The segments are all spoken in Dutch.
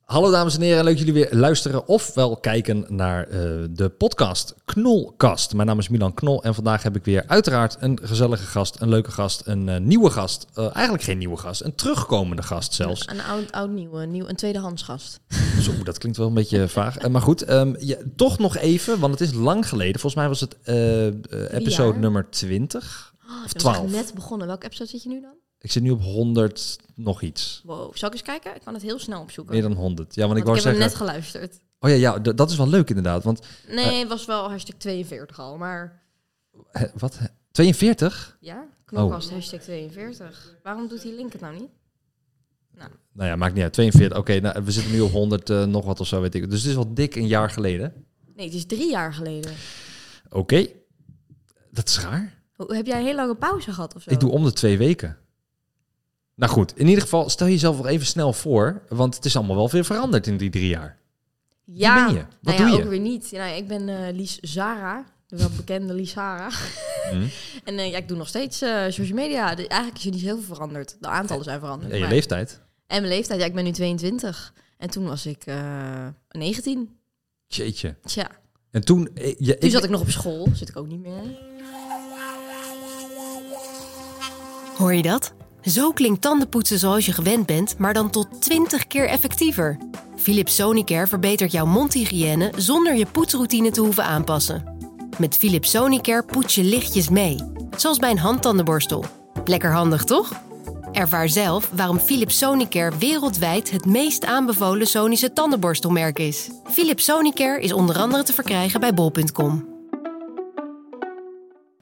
Hallo dames en heren, leuk jullie weer luisteren of wel kijken naar eh, de podcast Knolkast. Mijn naam is Milan Knol en vandaag heb ik weer uiteraard een gezellige gast, een leuke gast, een eh, nieuwe gast. Eh, eigenlijk geen nieuwe gast, een terugkomende gast zelfs. Een oud, oud nieuwe, nieuw, een tweedehands gast. Zo, dat klinkt wel een beetje vaag. Eh, maar goed, ehm, ja, toch nog even, want het is lang geleden. Volgens mij was het eh, eh, episode jaar? nummer 20. Of twaalf. dus net begonnen. Welke episode zit je nu dan? Ik zit nu op 100 nog iets. Wow, zal ik eens kijken? Ik kan het heel snel opzoeken. Meer dan 100. Ja, want ik Want wou ik heb zeggen... Eh. hem net geluisterd. Oh ja, ja, d- dat is wel leuk inderdaad. Want, Nee, het was wel hashtag 42 al, maar hè, wat? 42? ja, Oh. knopkast hashtag 42. Waarom doet die link het nou niet? Nou ja, maakt niet uit. 42, oké. nou, we zitten nu op 100 eh, nog wat of zo, weet ik. Dus het is al dik een jaar geleden. Nee, het is drie jaar geleden. Oké. Dat is raar. Hoe- Heb jij een hele lange pauze gehad of zo? Ik doe om de twee weken. Nou goed, in ieder geval stel jezelf nog even snel voor, want het is allemaal wel weer veranderd in die drie jaar. ja, Wie ben je? Wat nou ja, doe je? ook weer niet. Nou, ik ben eh, Lies Zara, de welbekende Lies Zara. Hm? En eh, ja, ik doe nog steeds eh, social media. Dus eigenlijk is er niet heel veel veranderd. De aantallen zijn veranderd. En je maar- leeftijd. En mijn leeftijd, ja, ik ben nu 22. En toen was ik eh 19. Jeetje. Tja, En toen, eh, ja, toen ik, zat ik nog op school. Zit ik ook niet meer. Hoor je dat? Zo klinkt tandenpoetsen zoals je gewend bent, maar dan tot 20 keer effectiever. Philips Sonicare verbetert jouw mondhygiëne zonder je poetsroutine te hoeven aanpassen. Met Philips Sonicare poets je lichtjes mee, zoals bij een handtandenborstel. Lekker handig, toch? Ervaar zelf waarom Philips Sonicare wereldwijd het meest aanbevolen sonische tandenborstelmerk is. Philips Sonicare is onder andere te verkrijgen bij bol.com.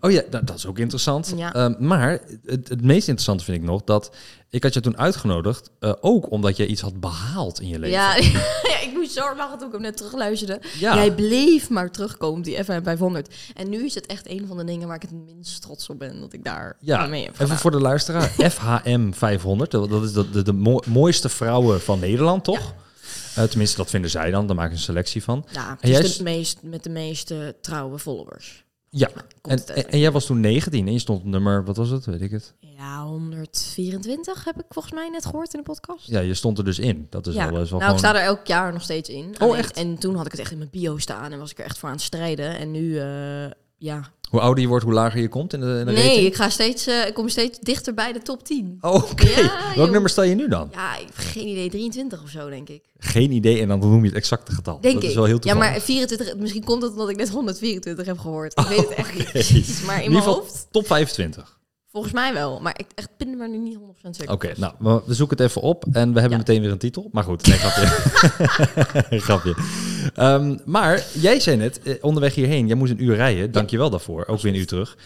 oh ja, nou, dat is ook interessant. Ja. Ehm, maar het, het meest interessante vind ik nog dat ik had je toen uitgenodigd, eh, ook omdat je iets had behaald in je leven. Ja, ja, ik moest zo lachen toen ik hem net terugluisterde. Ja. Jij bleef maar terugkomen, op die FM 500. En nu is het echt een van de dingen waar ik het minst trots op ben. Dat ik daar Ja, aan mee heb even gedaan. voor de luisteraar. FHM 500, dat dat is de, de, de mo- mooiste vrouwen van Nederland, toch? Eh, tenminste, dat vinden zij dan. Daar maken ze een selectie van. Ja, het En is jij de is- meest, met de meeste trouwe followers. Ja. Komt En, het en, uit. en jij was toen 19 en je stond op nummer, wat was het? Weet ik het. Ja, 124 heb ik volgens mij net gehoord in de podcast. Ja, je stond er dus in. Dat is wel eens wel nou, ik gewoon... Oh, sta er elk jaar nog steeds in. Alleen- echt? En toen had ik het echt in mijn bio staan en was ik er echt voor aan het strijden. En nu, eh, ja. Hoe ouder je wordt, hoe lager je komt in de, in de Nee, rating. ik, ga steeds, eh, ik kom steeds dichter bij de top 10. Oh, Oké. Ja, Welk joh. nummer sta je nu dan? Ja, ik heb geen idee, 23 of zo, denk ik. Geen idee. En dan noem je het exacte getal. Denk dat ik. is wel heel ja, toevallig. maar 24, misschien komt dat omdat ik net 124 heb gehoord. Ik weet het echt niet precies, maar in ieder mijn geval hoofd, Top 25. volgens mij wel. Maar ik echt pin me er nu niet 100% zeker. Oké, nou, we- we zoeken het even op en we hebben meteen weer een titel. Maar goed, nee, grapje. grapje. Ehm, maar jij zei net, eh, onderweg hierheen, jij moest een uur rijden. Dank je wel daarvoor, ook weer een uur terug.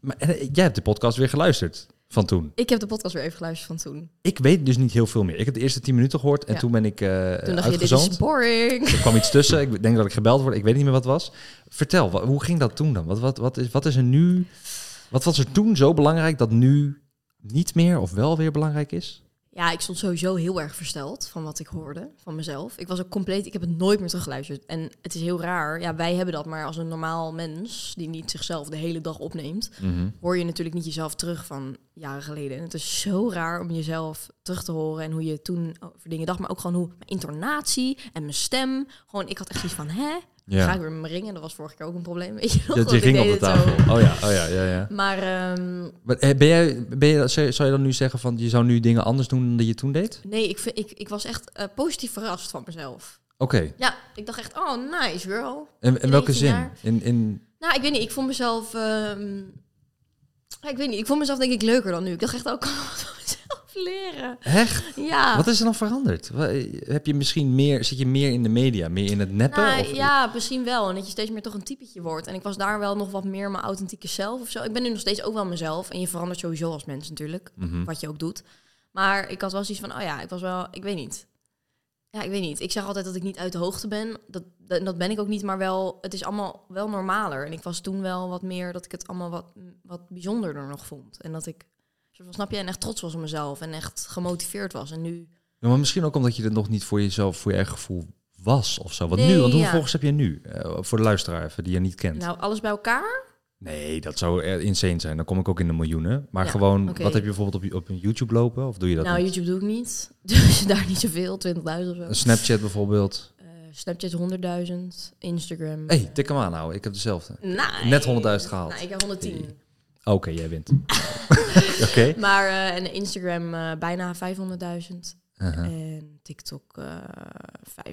Maar eh, jij hebt de podcast weer geluisterd van toen. Ik heb de podcast weer even geluisterd van toen. Ik weet dus niet heel veel meer. Ik heb de eerste tien minuten gehoord en Ja. toen ben ik eh Toen dacht je, dit uitgezoond. is boring. Er kwam iets tussen, ik denk dat ik gebeld word, ik weet niet meer wat het was. Vertel, wa- hoe ging dat toen dan? Wat, wat, wat, is, wat is er nu, wat was er toen zo belangrijk dat nu niet meer of wel weer belangrijk is? Ja, ik stond sowieso heel erg versteld van wat ik hoorde van mezelf. Ik was ook compleet, ik heb het nooit meer teruggeluisterd. En het is heel raar. Ja, wij hebben dat maar als een normaal mens die niet zichzelf de hele dag opneemt, Mhm. hoor je natuurlijk niet jezelf terug van jaren geleden. En het is zo raar om jezelf terug te horen en hoe je toen over dingen dacht, maar ook gewoon hoe mijn intonatie en mijn stem. Gewoon, ik had echt iets van hè, Ja. ga ik weer met mijn ringen? Dat was vorige keer ook een probleem. Weet je nog? Dat je ik ging op deed de het zo. tafel. Oh ja, oh ja, ja, ja. Maar ehm, Maar, eh, ben jij, ben je, zou zou je dan nu zeggen van je zou nu dingen anders doen dan dat je toen deed? nee, ik, vind, ik, ik was echt eh, positief verrast van mezelf. Oké. Ja, ik dacht echt, oh, nice girl. En in welke 19 zin? jaar. In, in, Nou, ik weet niet, ik vond mezelf... ehm, ja, ik weet niet, ik vond mezelf denk ik leuker dan nu. Ik dacht echt, ook kan wat van mezelf leren. echt? Ja. Wat is er dan veranderd? Wa- eh, Heb je misschien meer, zit je meer in de media, meer in het neppen? Nou, of, ja, misschien wel. En dat je steeds meer toch een typetje wordt. En ik was daar wel nog wat meer mijn authentieke zelf of zo. Ik ben nu nog steeds ook wel mezelf. En je verandert sowieso als mens natuurlijk. Mhm. Wat je ook doet. Maar ik had wel zoiets van, oh ja, ik was wel... Ik weet niet. Ja, ik weet niet. Ik zeg altijd dat ik niet uit de hoogte ben. Dat, dat, dat ben ik ook niet. Maar wel, het is allemaal wel normaler. En ik was toen wel wat meer dat ik het allemaal wat, wat bijzonderder nog vond. En dat ik, soort van, snap je, en echt trots was op mezelf. En echt gemotiveerd was. En nu... Ja, maar misschien ook omdat je het nog niet voor jezelf, voor je eigen gevoel was of zo. Want nu, Nee, want hoeveel ja. volgers heb je nu? Eh, voor de luisteraar even, die je niet kent. Nou, alles nou, bij elkaar Nee, dat zou eh, insane zijn. Dan kom ik ook in de miljoenen. Maar Ja, gewoon, oké. wat heb je bijvoorbeeld op, je- op een YouTube lopen? Of doe je dat nou, niet? YouTube doe ik niet. Dus daar niet zoveel, 20.000 of zo. Een Snapchat bijvoorbeeld. Eh, Snapchat 100.000, Instagram. Hé, hey, tik hem aan nou. Ik heb dezelfde. Nee. Net 100.000 gehaald. Nee, ik heb 110. Oké, jij wint. Oké. Maar eh, en Instagram eh, bijna 500.000. Uh-huh. En TikTok eh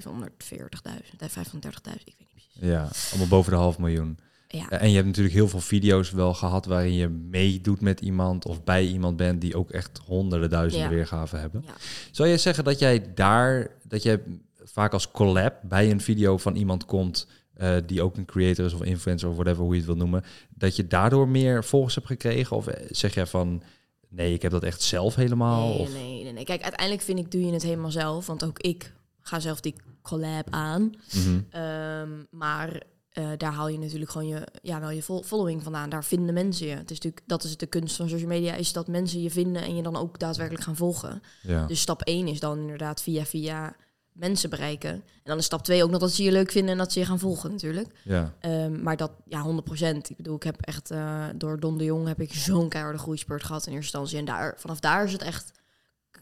540.000. Nee, 530.000, ik weet niet precies. Ja, allemaal boven de half miljoen. Eh, Ja. En je hebt natuurlijk heel veel video's wel gehad waarin je meedoet met iemand of bij iemand bent die ook echt honderden duizenden Ja. weergaven hebben. Ja. Zou jij zeggen dat jij daar, dat jij vaak als collab bij een video van iemand komt eh, die ook een creator is of influencer of whatever hoe je het wil noemen, dat je daardoor meer volgers hebt gekregen? Of eh, zeg jij van nee, ik heb dat echt zelf helemaal? Nee, Oh, of, nee, nee, nee. Kijk, uiteindelijk vind ik, doe je het helemaal zelf. Want ook ik ga zelf die collab aan. Mhm. Ehm, maar eh, daar haal je natuurlijk gewoon je, ja, wel je fol- following vandaan. Daar vinden mensen je. Het is natuurlijk, dat is de kunst van social media, is dat mensen je vinden en je dan ook daadwerkelijk gaan volgen. ja. Dus stap 1 is dan inderdaad via via mensen bereiken. En dan is stap 2 ook nog dat ze je leuk vinden en dat ze je gaan volgen natuurlijk. ja. Ehm, maar dat, ja, 100%. Ik bedoel, ik heb echt eh, door Don de Jong heb ik zo'n keiharde groeispurt gehad in eerste instantie. En daar, vanaf daar is het echt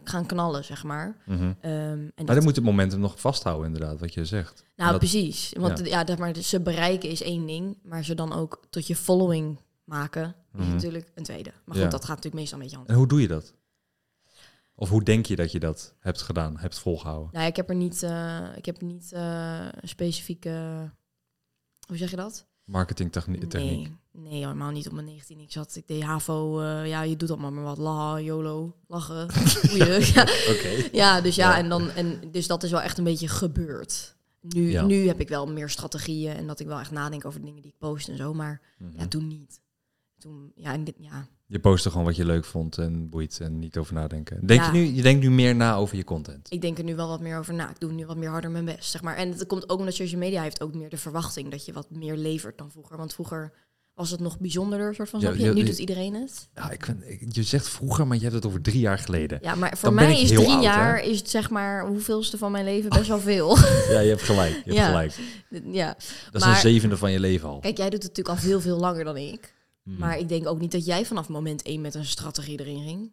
gaan knallen, zeg maar. Mhm. Ehm, en Maar dat, dan moet het momentum nog vasthouden inderdaad, wat je zegt. nou, dat- precies. Want ja. ja, dat, maar ze bereiken is één ding, maar ze dan ook tot je following maken is Mhm. natuurlijk een tweede. Maar Ja. goed, dat gaat natuurlijk meestal een beetje anders. En hoe doe je dat? Of hoe denk je dat je dat hebt gedaan, hebt volgehouden? Nou, ja, ik heb er niet, eh, ik heb niet eh, een specifieke, hoe zeg je dat? Marketingtechniek. Nee, nee, helemaal niet op mijn 19. Ik zat, ik deed HAVO, eh, ja, je doet allemaal maar wat. La, YOLO, lachen, boeien. ja, Oké. ja, dus ja, Ja. En, dan, en dus dat is wel echt een beetje gebeurd. Nu, Ja. nu heb ik wel meer strategieën en dat ik wel echt nadenk over de dingen die ik post en zo, maar ja, toen niet. Toen, ja, en dit, ja. Je postte gewoon wat je leuk vond en boeit en niet over nadenken. Denk Ja. je, nu, je denkt nu meer na over je content. Ik denk er nu wel wat meer over na. Ik doe nu wat meer harder mijn best, zeg maar. En het komt ook omdat social media heeft ook meer de verwachting dat je wat meer levert dan vroeger. Want vroeger was het nog bijzonderder, soort van. Ja, snap je? ja, nu ja. doet iedereen het. Ja, ik vind- ik- je zegt vroeger, maar je hebt het over drie jaar geleden. Ja, maar voor Dan ben mij ik is heel drie oud, hè? jaar, is het zeg maar, hoeveelste van mijn leven best wel veel. Ja, je hebt gelijk. Je hebt Ja. gelijk. ja. Dat is Maar- een zevende van je leven al. Kijk, jij doet het natuurlijk al veel, veel langer dan ik. Mm. Maar ik denk ook niet dat jij vanaf moment één met een strategie erin ging.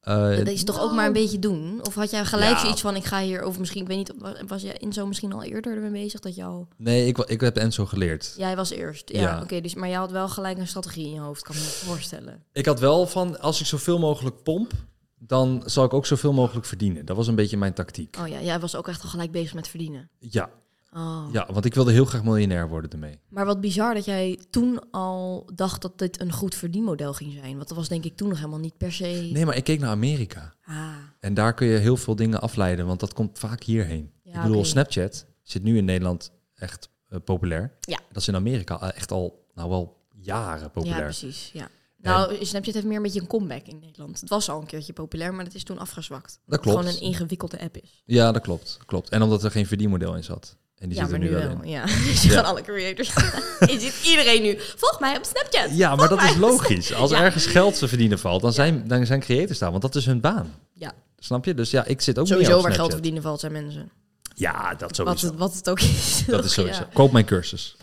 Eh, Dat is toch ook maar een beetje doen? Of had jij gelijk Ja. zoiets van, ik ga hier, of misschien, ik weet niet, was- was jij in zo misschien al eerder ermee bezig dat jou... Nee, ik, wa- ik heb Enzo geleerd. Jij was eerst, ja. Ja. Oké, dus, maar jij had wel gelijk een strategie in je hoofd, kan ik me voorstellen. Ik had wel van, als ik zoveel mogelijk pomp, dan zal ik ook zoveel mogelijk verdienen. Dat was een beetje mijn tactiek. Oh ja, jij was ook echt al gelijk bezig met verdienen. Ja, Oh. ja want ik wilde heel graag miljonair worden ermee. Maar wat bizar dat jij toen al dacht dat dit een goed verdienmodel ging zijn. Want dat was denk ik toen nog helemaal niet per se. Nee, maar ik keek naar Amerika. Ah, En daar kun je heel veel dingen afleiden, want dat komt vaak hierheen. Ja, ik bedoel, oké. Snapchat zit nu in Nederland echt eh, populair. Ja. Dat is in Amerika eh, echt al, nou wel jaren ja, populair. precies. Ja. Nou, Snapchat heeft meer een beetje een comeback in Nederland. Het was al een keertje populair, maar dat is toen afgezwakt. Dat Het klopt. gewoon een ingewikkelde app is. Ja, dat klopt, klopt. En omdat er geen verdienmodel in zat. En die ja, zit er maar nu wel in. Ja, dus je Ja. gaan alle creators. je ziet iedereen nu. Volg mij op Snapchat. Ja, maar dat Volg is mij op logisch. Als Ja. ergens geld te verdienen valt, dan zijn, dan zijn creators daar, want dat is hun baan. Ja. Snap je? Dus ja, ik zit ook Sowieso meer op waar geld Snapchat. verdienen valt zijn mensen. Ja, dat Wat sowieso. het, wat het ook is. dat is sowieso. Ja. Koop mijn cursus.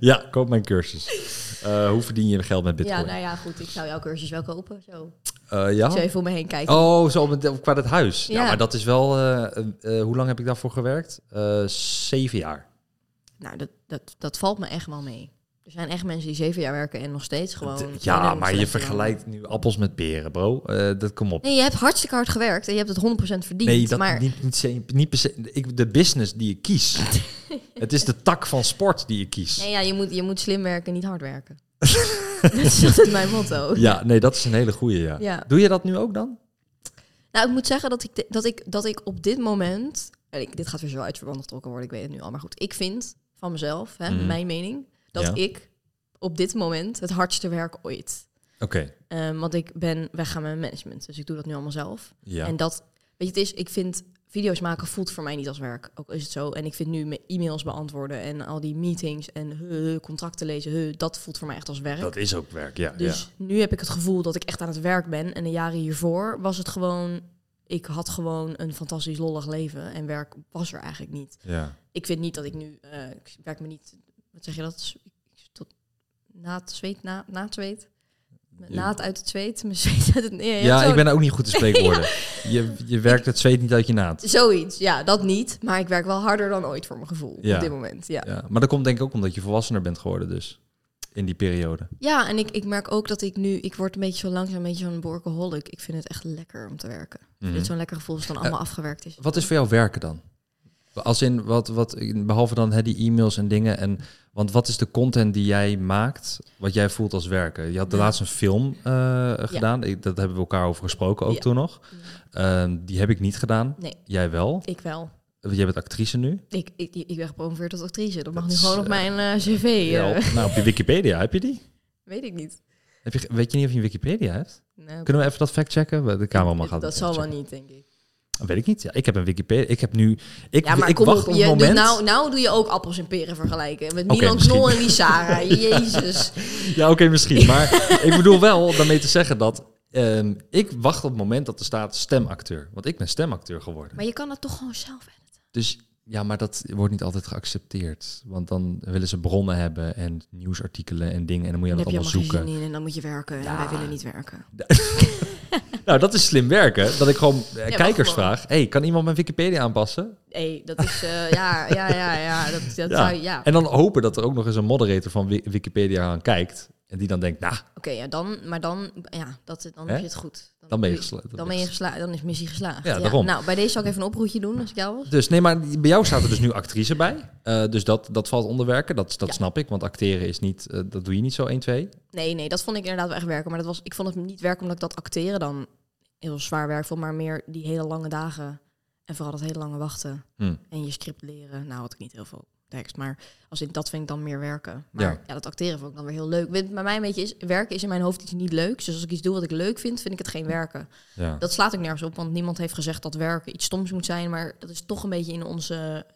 ja, koop mijn cursus. Eh, hoe verdien je geld met Ja, bitcoin? nou ja, goed. Ik zou jouw cursus wel kopen. Zo, Eh, ja? zo even om me heen kijken. Oh, zo op het, qua het huis. Ja. Ja. maar dat is wel... eh, eh, eh, hoe lang heb ik daarvoor gewerkt? Eh, zeven jaar. Nou, dat, dat, dat valt me echt wel mee. Er zijn echt mensen die zeven jaar werken en nog steeds gewoon... ja, enorm maar je slecht vergelijkt nu appels met peren, bro. Eh, dat kom op. Nee, je hebt hartstikke hard gewerkt en je hebt het 100% verdiend. Nee, dat maar niet, niet, se- niet per se- ik, de business die je kiest. het is de tak van sport die je kiest. nee, ja, je, moet, je moet slim werken, niet hard werken. dat is altijd mijn motto. Ja, nee, dat is een hele goeie, ja. Ja. Doe je dat nu ook dan? Nou, ik moet zeggen dat ik, de- dat ik, dat ik op dit moment... en ik, dit gaat weer zo uit verband getrokken worden, ik weet het nu al. Maar goed, ik vind van mezelf, hè, Mhm. mijn mening... dat Ja. ik op dit moment het hardste werk ooit... Oké, Ehm, want ik ben weggaan met mijn management. Dus ik doe dat nu allemaal zelf. ja. En dat, weet je, het is, ik vind video's maken voelt voor mij niet als werk. Ook is het zo. En ik vind nu mijn e-mails beantwoorden en al die meetings en huh, contracten lezen, huh, dat voelt voor mij echt als werk. Dat is ook werk, ja. dus nu heb ik het gevoel dat ik echt aan het werk ben. En de jaren hiervoor was het gewoon, ik had gewoon een fantastisch lollig leven. En werk was er eigenlijk niet. ja. ja. Ik vind niet dat ik nu, eh, ik werk me niet wat zeg je dat? Tot, na het zweet, na, na het zweet. Na het uit het zweet, mijn zweet uit het... Ja, Nee, ik ben daar ook niet goed te spreekwoorden. je, je werkt het zweet niet uit je naad. Zoiets, ja, dat niet. Maar ik werk wel harder dan ooit voor mijn gevoel Ja. op dit moment. Ja, Ja, maar dat komt denk ik ook omdat je volwassener bent geworden dus. In die periode. ja en ik, ik merk ook dat ik nu... Ik word een beetje zo langzaam een beetje zo'n workaholic. Ik vind het echt lekker om te werken. Ik vind Mhm. het zo'n lekker gevoel als het dan allemaal afgewerkt is. Wat is voor jou werken dan? Als in, wat, wat, behalve dan hè, die e-mails en dingen. En, want wat is de content die jij maakt, wat jij voelt als werken? Je had de Ja. laatst een film eh, gedaan. Ik- dat hebben we elkaar over gesproken ook Ja. toen nog. Ehm, die heb ik niet gedaan. Nee. Jij wel. Ik wel. Jij bent actrice nu. Ik, ik, ik ben gepromoveerd als actrice. Dat mag Dat nu is, gewoon op eh, mijn eh, cv. Ja, eh. op, nou, op je Wikipedia heb je die? Weet ik niet. Heb je, ge- weet je niet of je een Wikipedia hebt? Nou, Kunnen we even dat factchecken? De cameraman gaat dat het zal wel factchecken. Ah, niet, denk ik. Weet ik niet. Ja, ik heb een Wikipedia. Ik heb nu. Ik, Ja, maar ik kom wacht op. op je het doet moment. nou, nou doe je ook appels en peren vergelijken. Met Oké, Milan misschien. Knol en die Sarah. Jezus. Ja, oké, misschien. Maar ik bedoel wel daarmee te zeggen dat ehm, ik wacht op het moment dat er staat stemacteur. Want ik ben stemacteur geworden. Maar je kan dat toch gewoon zelf editen. Dus ja, maar dat wordt niet altijd geaccepteerd. Want dan willen ze bronnen hebben en nieuwsartikelen en dingen. En dan moet je Dan dat heb je allemaal allemaal zoeken. geen zin in en dan moet je werken. En wij willen niet werken. Nou, dat is slim werken. Dat ik gewoon eh, maar kijkers gewoon. vraag. hey, kan iemand mijn Wikipedia aanpassen? Nee, dat is... eh, ja, ja, ja, ja. Dat, dat Ja. zou... Ja. En dan hopen dat er ook nog eens een moderator van Wi- Wikipedia aan kijkt. En die dan denkt, nou, Oké, ja, dan... Maar dan... Ja, dat, dan Hè? heb je het goed. dan ben je doe geslaagd. Dan ben je geslaagd. Dan is missie geslaagd. Ja, daarom. Nou, bij deze zal ik even een oproepje doen, als ik jou was. Dus nee, maar bij jou staat er dus nu actrice bij. Eh, dus dat, dat valt onder werken. Dat, dat Ja. snap ik. Want acteren is niet, eh, dat doe je niet zo 1, 2. Nee, nee, dat vond ik inderdaad wel echt werken. Maar dat was, ik vond het niet werken omdat ik dat acteren dan heel zwaar werk vond. Maar meer die hele lange dagen en vooral dat hele lange wachten. Hm. En je script leren. Nou had ik niet heel veel tekst, maar als ik, dat vind ik dan meer werken. Maar Ja. ja. dat acteren vond ik dan weer heel leuk. Weet- Bij mij een beetje is, werken is in mijn hoofd iets niet leuks. Dus als ik iets doe wat ik leuk vind, vind ik het geen werken. Ja. Dat slaat ik nergens op, want niemand heeft gezegd dat werken iets stoms moet zijn. Maar dat is toch een beetje in onze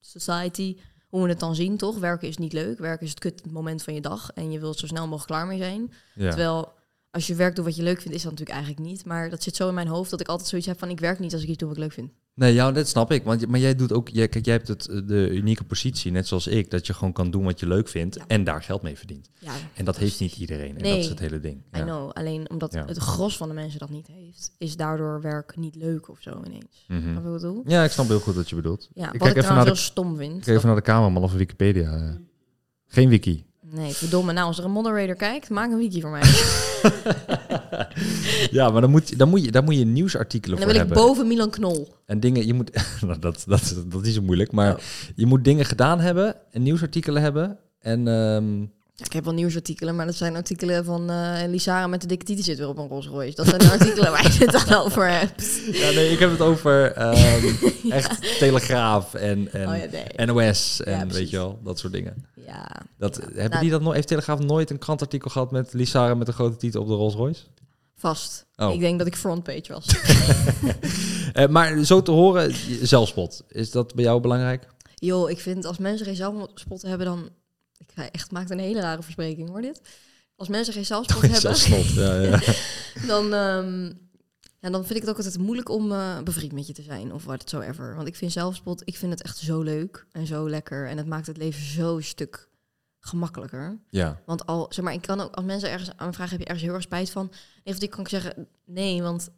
society hoe we het dan zien, toch? Werken is niet leuk. Werken is het kut moment van je dag. En je wilt zo snel mogelijk klaar mee zijn. ja. Terwijl als je werk doet wat je leuk vindt, is dat natuurlijk eigenlijk niet. Maar dat zit zo in mijn hoofd dat ik altijd zoiets heb van... ik werk niet als ik iets doe wat ik leuk vind. Nee, jou, dat snap ik. Want, je- maar jij doet ook, jij, kijk, jij hebt het, eh, de unieke positie, net zoals ik, dat je gewoon kan doen wat je leuk vindt Ja. en daar geld mee verdient. Ja, En dat heeft niet iedereen. En dat Nee. is het hele ding. I Ja. know. Alleen omdat Ja. het gros van de mensen dat niet heeft... is daardoor werk niet leuk of zo ineens. Mhm. Snap je wat ik bedoel? Ja, ik snap heel goed wat je bedoelt. Ja, kijk wat ik even trouwens naar heel Mm. de- stom vind. Ik ga even naar de cameraman of Wikipedia. eh. Geen wiki. Nee, verdomme. Nou, als er een moderator kijkt, maak een wiki voor mij. en Ja, maar dan moet, dan moet, je, dan moet je nieuwsartikelen dan voor wil ik hebben. boven Milan Knol. En dingen, je moet, nou, dat, dat, dat is zo moeilijk, maar je moet dingen gedaan hebben en nieuwsartikelen hebben. En ehm, Ja, ik heb wel nieuwsartikelen, maar dat zijn artikelen van eh Lisara met de dikke titel zit weer op een Rolls Royce. Dat zijn de artikelen waar je het dan over hebt. ja, nee, ik heb het over ehm, echt Telegraaf en, en Oh ja, nee. NOS Ja, en weet precies. je wel, dat soort dingen. Ja. Dat, hebben nou- die dat nooit, heeft Telegraaf nooit een krantartikel gehad met Lisara met een grote titel op de Rolls Royce? Vast. Oh. Ik denk dat ik frontpage was. Eh, maar zo te horen, zelfspot, is dat bij jou belangrijk? Yo, ik vind als mensen geen zelfspot hebben, dan... Ik ga echt maakt een hele rare verspreking, hoor dit. Als mensen geen zelfspot hebben, Zelfspot, ja, ja. dan, ehm, ja, dan vind ik het ook altijd moeilijk om eh, bevriend met je te zijn of whatsoever. Want ik vind zelfspot, ik vind het echt zo leuk en zo lekker. En het maakt het leven zo'n stuk gemakkelijker. ja. Want al, zeg maar, ik kan ook als mensen ergens aan me vragen, heb je ergens heel erg spijt van? Nee, of die kan ik zeggen, nee, want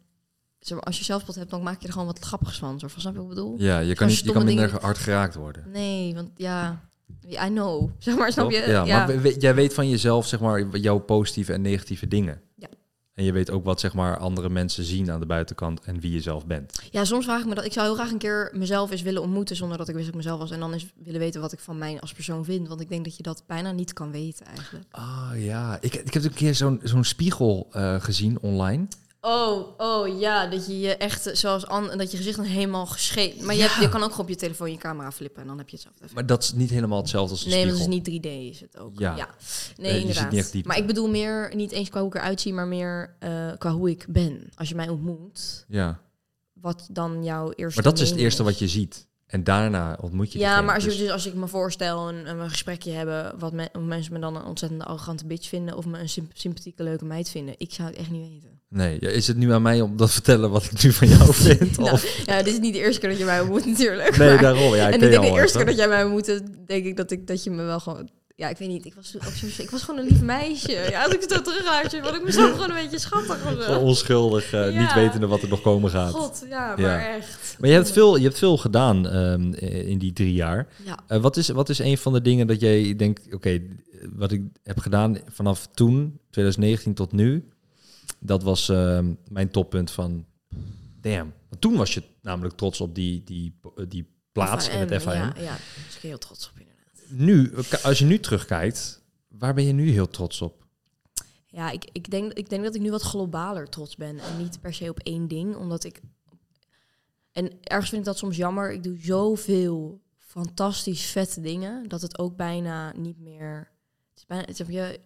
zeg maar, als je zelfspot hebt, dan maak je er gewoon wat grappigs van. Soort van, snap je wat ik bedoel? Ja, je kan niet- je stomme kan minder dingen. hard geraakt worden. Nee, want ja, I know. Zeg maar, snap Toch? je? Ja, maar we- we- jij weet van jezelf, zeg maar, jouw positieve en negatieve dingen. Ja. En je weet ook wat, zeg maar, andere mensen zien aan de buitenkant en wie je zelf bent. Ja, soms vraag ik me dat. Ik zou heel graag een keer mezelf eens willen ontmoeten zonder dat ik wist dat ik mezelf was. En dan eens willen weten wat ik van mij als persoon vind. Want ik denk dat je dat bijna niet kan weten eigenlijk. Ah ja, ik, ik heb een keer zo'n zo'n spiegel eh, gezien online. Oh, oh ja, dat je je echt eh, zoals Anne, dat je gezicht dan helemaal gescheed. Maar je, hebt- je kan ook gewoon op je telefoon je camera flippen en dan heb je het zelf even. Maar dat is niet helemaal hetzelfde als een Nee, want spiegel. het is niet 3D is het ook. Ja. Ja. Nee, dus Nee, je ziet inderdaad. niet echt diepte. maar ik bedoel meer, niet eens qua hoe ik eruit zie, maar meer eh, qua hoe ik ben. Als je mij ontmoet, Ja, wat dan jouw eerste maar dat is het mening eerste wat je ziet. En daarna ontmoet je Ja, diegene. maar als, je, Dus- dus als ik me voorstel en, en we een gesprekje hebben, wat me- of mensen me dan een ontzettende arrogante bitch vinden of me een symp- sympathieke leuke meid vinden, ik zou het echt niet weten. Nee, ja, is het nu aan mij om dat te vertellen wat ik nu van jou vind? Nou, Of... Ja, dit is niet de eerste keer dat je mij moet natuurlijk. Nee, maar- daarom. Ja, ik ken en ik denk jou de al eerste keer even. dat jij mij moet, denk ik dat, ik dat je me wel gewoon... Ja, ik weet niet. Ik was, toen ook zo, ik was gewoon een lief meisje. Ja, als ik het zo terugluister, vond ik mezelf gewoon een beetje schattig. of Zo zo. onschuldig, eh, Ja. niet wetende wat er nog komen gaat. God, ja, maar Ja. echt. Maar je hebt veel, je hebt veel gedaan ehm, eh, in die drie jaar. Ja. Eh, wat, is, wat is een van de dingen dat jij denkt, oké, wat ik heb gedaan vanaf toen, 2019 tot nu, dat was ehm, mijn toppunt van, damn. Want toen was je namelijk trots op die, die, die plaats in het FIM. Ja, ja, daar was ik heel trots op inderdaad. Nu, als je nu terugkijkt, waar ben je nu heel trots op? Ja, ik, ik, denk, ik denk dat ik nu wat globaler trots ben. En niet per se op één ding, omdat ik... En ergens vind ik dat soms jammer. Ik doe zoveel fantastisch vette dingen... dat het ook bijna niet meer... Het is bijna, het, heb je,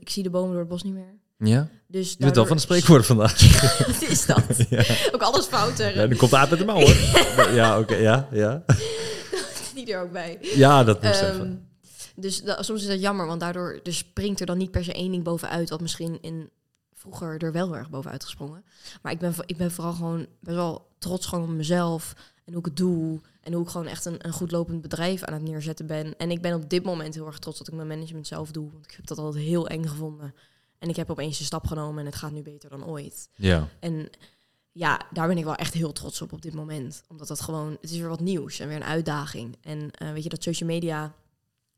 ik zie de bomen door het bos niet meer. Ja? Dus Je bent wel daardoor- van de spreekwoorden vandaag. Wat is dat? ja. Ook alles fout zeggen. ja, nu komt de aap met de mouwen. ja, oké, ja, ja. Die er ook bij. Ja, dat moest even. Ehm, dus da- soms is dat jammer, want daardoor dus springt er dan niet per se één ding bovenuit... wat misschien in vroeger er wel heel erg bovenuit gesprongen. Maar ik ben, vo- ik ben vooral gewoon best wel trots gewoon op mezelf... en hoe ik het doe en hoe ik gewoon echt een, een goed lopend bedrijf aan het neerzetten ben. En ik ben op dit moment heel erg trots dat ik mijn management zelf doe... want ik heb dat altijd heel eng gevonden. En ik heb opeens de stap genomen en het gaat nu beter dan ooit. Ja. En ja, daar ben ik wel echt heel trots op op dit moment. Omdat dat gewoon, het is weer wat nieuws en weer een uitdaging. En eh, weet je, dat social media,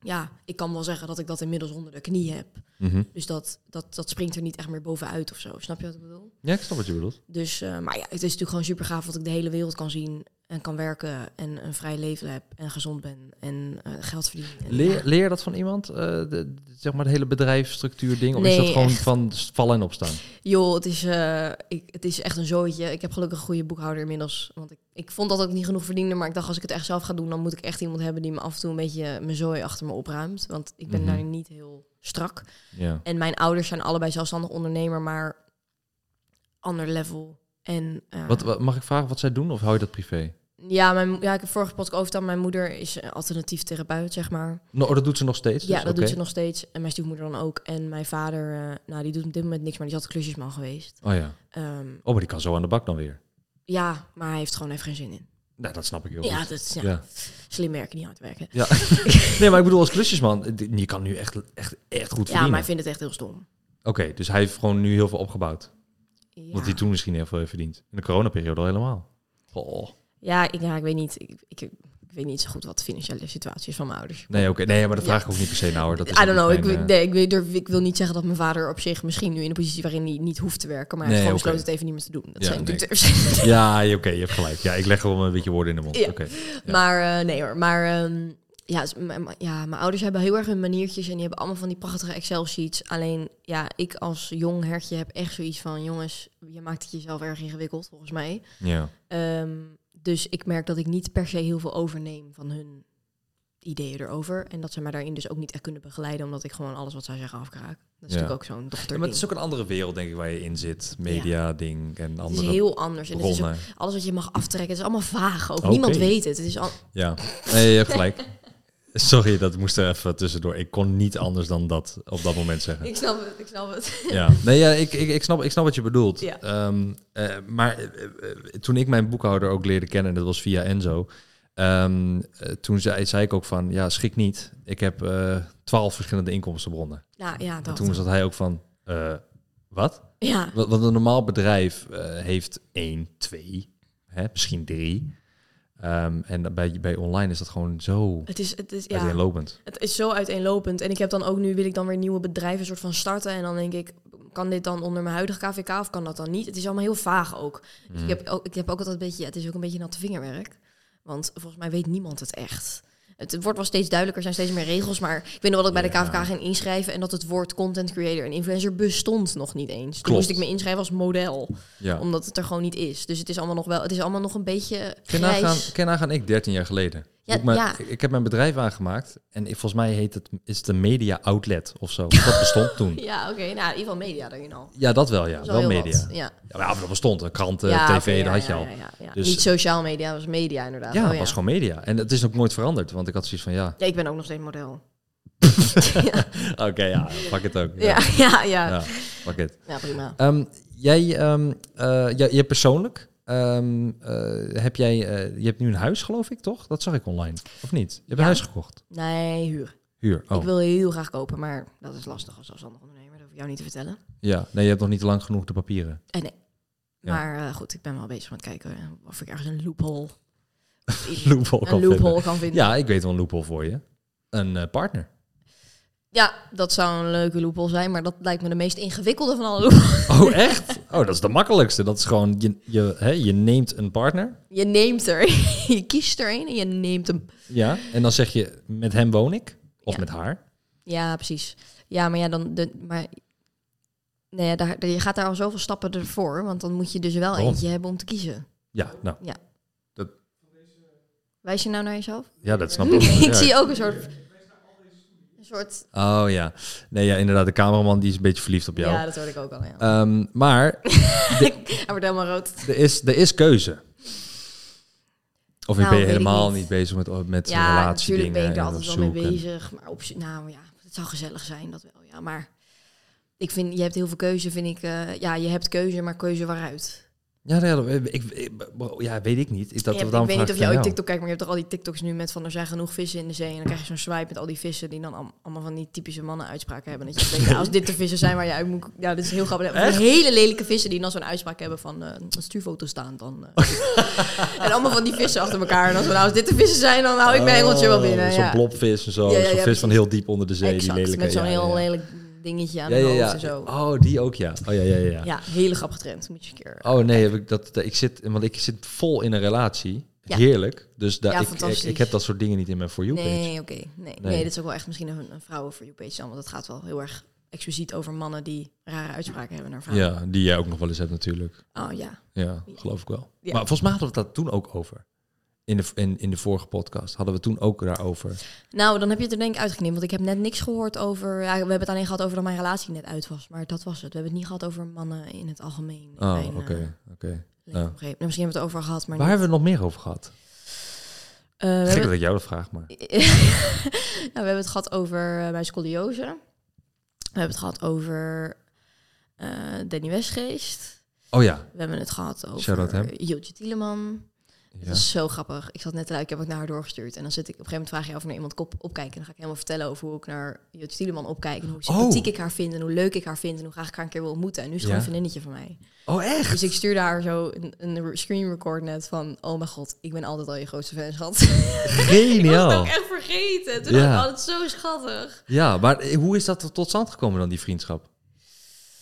ja, ik kan wel zeggen dat ik dat inmiddels onder de knie heb. Mhm. Dus dat, dat, dat springt er niet echt meer bovenuit of zo. Snap je wat ik bedoel? Ja, ik snap wat je bedoelt. Dus, eh, maar ja, het is natuurlijk gewoon super gaaf dat ik de hele wereld kan zien en kan werken en een vrij leven heb en gezond ben en eh, geld verdien. En, Leer, leer je dat van iemand, eh, de, de- zeg maar de hele bedrijfsstructuur ding? Of is Nee, dat gewoon echt. van vallen en opstaan? Joh, het is, eh, ik, het is echt een zooitje. Ik heb gelukkig een goede boekhouder inmiddels. Want ik, ik vond dat ik niet genoeg verdiende. Maar ik dacht, als ik het echt zelf ga doen, dan moet ik echt iemand hebben die me af en toe een beetje eh, mijn zooi achter me opruimt. Want ik ben Mhm. daar niet heel strak. Ja. En mijn ouders zijn allebei zelfstandig ondernemer, maar ander level. En, eh, Wat, wat- mag ik vragen wat zij doen of hou je dat privé? Ja, mijn, mo- ja, ik heb vorige podcast over dat mijn moeder is een alternatief therapeut, zeg maar. Nou, oh, dat doet ze nog steeds? ja, dus, dat oké. doet ze nog steeds. En mijn stiefmoeder dan ook. En mijn vader, eh, nou, die doet op dit moment niks, maar die is altijd klusjesman geweest. Oh ja. Ehm, Oh, maar die kan zo aan de bak dan weer. ja, maar hij heeft gewoon even geen zin in. Nou, dat snap ik heel Ja, goed. dat is ja, Ja. slim werken, niet hard werken. Ja. nee, maar ik bedoel als klusjesman, eh, die- je kan nu echt, echt, echt goed Ja, maar verdienen. hij vindt het echt heel stom. Oké, dus hij heeft gewoon nu heel veel opgebouwd. Ja, Want die toen misschien heel veel heeft verdiend. In de coronaperiode al helemaal. Oh. ja, ik, ja, ik weet niet. Ik, ik, ik weet niet zo goed wat de financiële situatie is van mijn ouders. Nee, oké. Nee, maar dat Ja. vraag ik ook niet per se nou hoor. Dat is I don't know. ook Ik, niet wil- mijn, eh, nee, ik, wil- durf, ik wil niet zeggen dat mijn vader op zich misschien nu in de positie waarin hij niet hoeft te werken, maar hij Nee, heeft gewoon oké. besloten het even niet meer te doen. Dat Ja, zijn nee. natuurlijk de verschillen. eh, Ja, oké, je hebt gelijk. Ja, ik leg gewoon een beetje woorden in de mond. Ja. Oké. Ja. Maar eh, nee hoor, maar ehm, ja, s- m- m- ja, mijn ouders hebben heel erg hun maniertjes en die hebben allemaal van die prachtige Excel-sheets. Alleen ja, ik als jong hertje heb echt zoiets van, jongens, je maakt het jezelf erg ingewikkeld volgens mij. Ja. Ehm, dus ik merk dat ik niet per se heel veel overneem van hun ideeën erover. En dat ze mij daarin dus ook niet echt kunnen begeleiden, omdat ik gewoon alles wat zij zeggen afkraak. Dat is Ja. natuurlijk ook zo'n dochter. maar het is ook een andere wereld, denk ik, waar je in zit. Media-ding en het is andere heel anders. En het is ook bronnen. alles wat je mag aftrekken, het is allemaal vaag. Ook Oké. niemand weet het. Het is al... Ja, nee, je hebt gelijk. Sorry, dat moest er even tussendoor. Ik kon niet anders dan dat op dat moment zeggen. Ik snap het, ik snap het. Ja, nee, ja, ik, ik, ik, snap, ik snap wat je bedoelt. Ja. Ehm, eh, maar eh, eh, toen ik mijn boekhouder ook leerde kennen, dat was via Enzo. ehm, eh, toen zei, zei ik ook van, ja, schrik niet. Ik heb eh, twaalf verschillende inkomstenbronnen. Ja, Nou, ja, En dat. toen zat hij ook van, eh, wat? Ja, Wa- Want een normaal bedrijf eh, heeft één, twee, hè, misschien drie. Ehm, en bij, bij online is dat gewoon zo het is, het is, ja. uiteenlopend. Het is zo uiteenlopend. En ik heb dan ook nu, wil ik dan weer nieuwe bedrijven soort van starten. En dan denk ik, kan dit dan onder mijn huidige KVK of kan dat dan niet? Het is allemaal heel vaag ook. Dus Mm. ik, heb ook ik heb ook altijd een beetje, het is ook een beetje natte vingerwerk. Want volgens mij weet niemand het echt. Het wordt wel steeds duidelijker, er zijn steeds meer regels. Maar ik weet nog wel dat ik bij Ja. de KVK ging inschrijven... en dat het woord content creator en influencer bestond nog niet eens. Toen Klopt. moest ik me inschrijven als model, Ja. omdat het er gewoon niet is. Dus het is allemaal nog wel, het is allemaal nog een beetje Ken grijs. nagaan, ken nagaan ik 13 jaar geleden. Hoe ik, Ja, mijn- ja. ik- ik heb mijn bedrijf aangemaakt en ik, volgens mij heet het, is het een media outlet of zo. Dat bestond toen. Ja, oké. Nou, in ieder geval media daarin al. Ja, dat wel, ja. Dat is wel heel media. wat, Ja. Ja, maar dat bestond. Een krant, eh, Ja, tv, oké, ja, dat had je ja, al. ja, ja, ja. Dus- Niet sociaal media, was media inderdaad. Ja, Oh, het was gewoon media. En het is ook nooit veranderd, want ik had zoiets van, ja, Ja, ik ben ook nog steeds model. oké, ja, pak het ook. Ja, ja, ja. ja. Ja, ja pak het. prima. Ehm, jij, ehm eh, jij, jij persoonlijk, ehm, eh, heb jij, eh, je hebt nu een huis, geloof ik, toch? Dat zag ik online, of niet? Je hebt een Ja. huis gekocht, Nee, huur. huur. Oh, Ik wil heel graag kopen, maar dat is lastig als zelfstandig ondernemer. Dat hoef ik jou niet te vertellen. ja. Nee, je hebt nog niet lang genoeg de papieren. Eh, nee. Ja. Maar eh, goed, ik ben wel bezig met kijken eh, of ik ergens een loophole, of iets- Loophole kan een vinden. loophole kan vinden. Ja. Ja, ik weet wel een loophole voor je. Een eh, partner. dat zou een leuke loophole zijn, maar dat lijkt me de meest ingewikkelde van alle loopholes. Oh, echt? Oh, dat is de makkelijkste. Dat is gewoon, je, je, hè, je neemt een partner. Je neemt er, je kiest er een en je neemt hem. Ja. En dan zeg je, met hem woon ik. Of Ja. met haar. Ja, precies. Ja, maar ja, dan... De, maar, nee, ja, daar, je gaat daar al zoveel stappen ervoor, want dan moet je dus wel Waarom? eentje hebben om te kiezen. Ja, nou. Wijs je nou naar jezelf? Ja, dat snap ik. Ja, ik zie ook een soort... Een soort... Oh ja. Nee, ja, inderdaad. De cameraman die is een beetje verliefd op jou. Ja, dat hoorde ik ook al. Ja. Ehm, maar Hij wordt helemaal rood. er is, er is keuze. Of Nou, ben je weet ik helemaal niet. niet. bezig met, oh, met Ja, relatiedingen? natuurlijk ben ik er en altijd wel mee zoeken? bezig. Maar op, nou ja, het zou gezellig zijn, dat wel. Ja, maar ik vind, je hebt heel veel keuze, vind ik. eh, ja, je hebt keuze, maar keuze waaruit. Ja, nee, dat- ik, ik- ja, weet ik niet. Ik, dat, Je hebt- daarom ik weet vraag niet of aan jij ooit jou. TikTok kijkt, maar je hebt toch al die TikToks nu met van er zijn genoeg vissen in de zee. En dan krijg je zo'n swipe met al die vissen die dan am- allemaal van die typische mannen uitspraken hebben. Dat je denkt, nou, als dit de vissen zijn waar je uit moet... Ja, dat is heel grappig. Van die Hele lelijke vissen die dan zo'n uitspraak hebben van eh een stuurfoto staan dan. eh. en allemaal van die vissen achter elkaar. En dan zo, nou, als dit de vissen zijn, dan hou oh, ik mijn engeltje wel binnen. Oh, Zo'n ja. blobvis en zo. Ja, ja, zo'n ja, vis van precies. heel diep onder de zee. die Exact, lelijke, met zo'n ja, heel ja, ja. lelijk dingetje aan Ja, de ja, hoofd ja. en zo. Oh, die ook, ja. Oh, ja, ja, ja. ja. Ja, hele grappige trend. Moet je een keer... Oh nee, heb ik dat, dat- ik zit, want ik zit vol in een relatie. Ja. Heerlijk. Dus daar Ja, ik, ik, fantastisch. ik heb dat soort dingen niet in mijn For You-page. nee, oké. Nee, nee. Nee. dit is ook wel echt misschien een, een vrouwen voor you page dan. Want het gaat wel heel erg expliciet over mannen die rare uitspraken hebben naar vrouwen. Ja, die jij ook nog wel eens hebt natuurlijk. Oh ja. Ja, geloof ik wel. Ja. Maar volgens mij hadden we het daar toen ook over. In de, in, in de vorige podcast hadden we toen ook daarover. Nou, dan heb je het er denk ik uitgeknipt. Want ik heb net niks gehoord over... Ja, we hebben het alleen gehad over dat mijn relatie net uit was. Maar dat was het. We hebben het niet gehad over mannen in het algemeen. in Oh, mijn, oké. eh, oké. leefomgeving. Nou, misschien hebben we het over gehad, maar Waar niet. hebben we het nog meer over gehad? Eh, we, Gek hebben, dat ik jou dat vraag, maar... nou, we hebben het gehad over eh, mijn scoliose. We hebben het gehad over eh, Danny Westgeest. Oh ja. We hebben het gehad Shout-out hem. over Jiltje Tieleman. ja. Dat is zo grappig. Ik zat net te luisteren, ik heb het naar haar doorgestuurd. En dan zit ik op een gegeven moment vraag je of ik naar iemand kop opkijk. En dan ga ik helemaal vertellen over hoe ik naar Jiltje Tieleman opkijk. En hoe sympathiek Oh. ik haar vind. En hoe leuk ik haar vind. En hoe graag ik haar een keer wil ontmoeten. En nu is het Ja. gewoon een vriendinnetje van mij. Oh echt? Dus ik stuurde haar zo een, een screen record net van... Oh mijn god, ik ben altijd al je grootste fan, schat. Ik was het Geniaal. ook echt vergeten. Toen Ja. dacht ik, oh, dat is zo schattig. Ja, maar eh, hoe is dat tot stand gekomen dan, die vriendschap?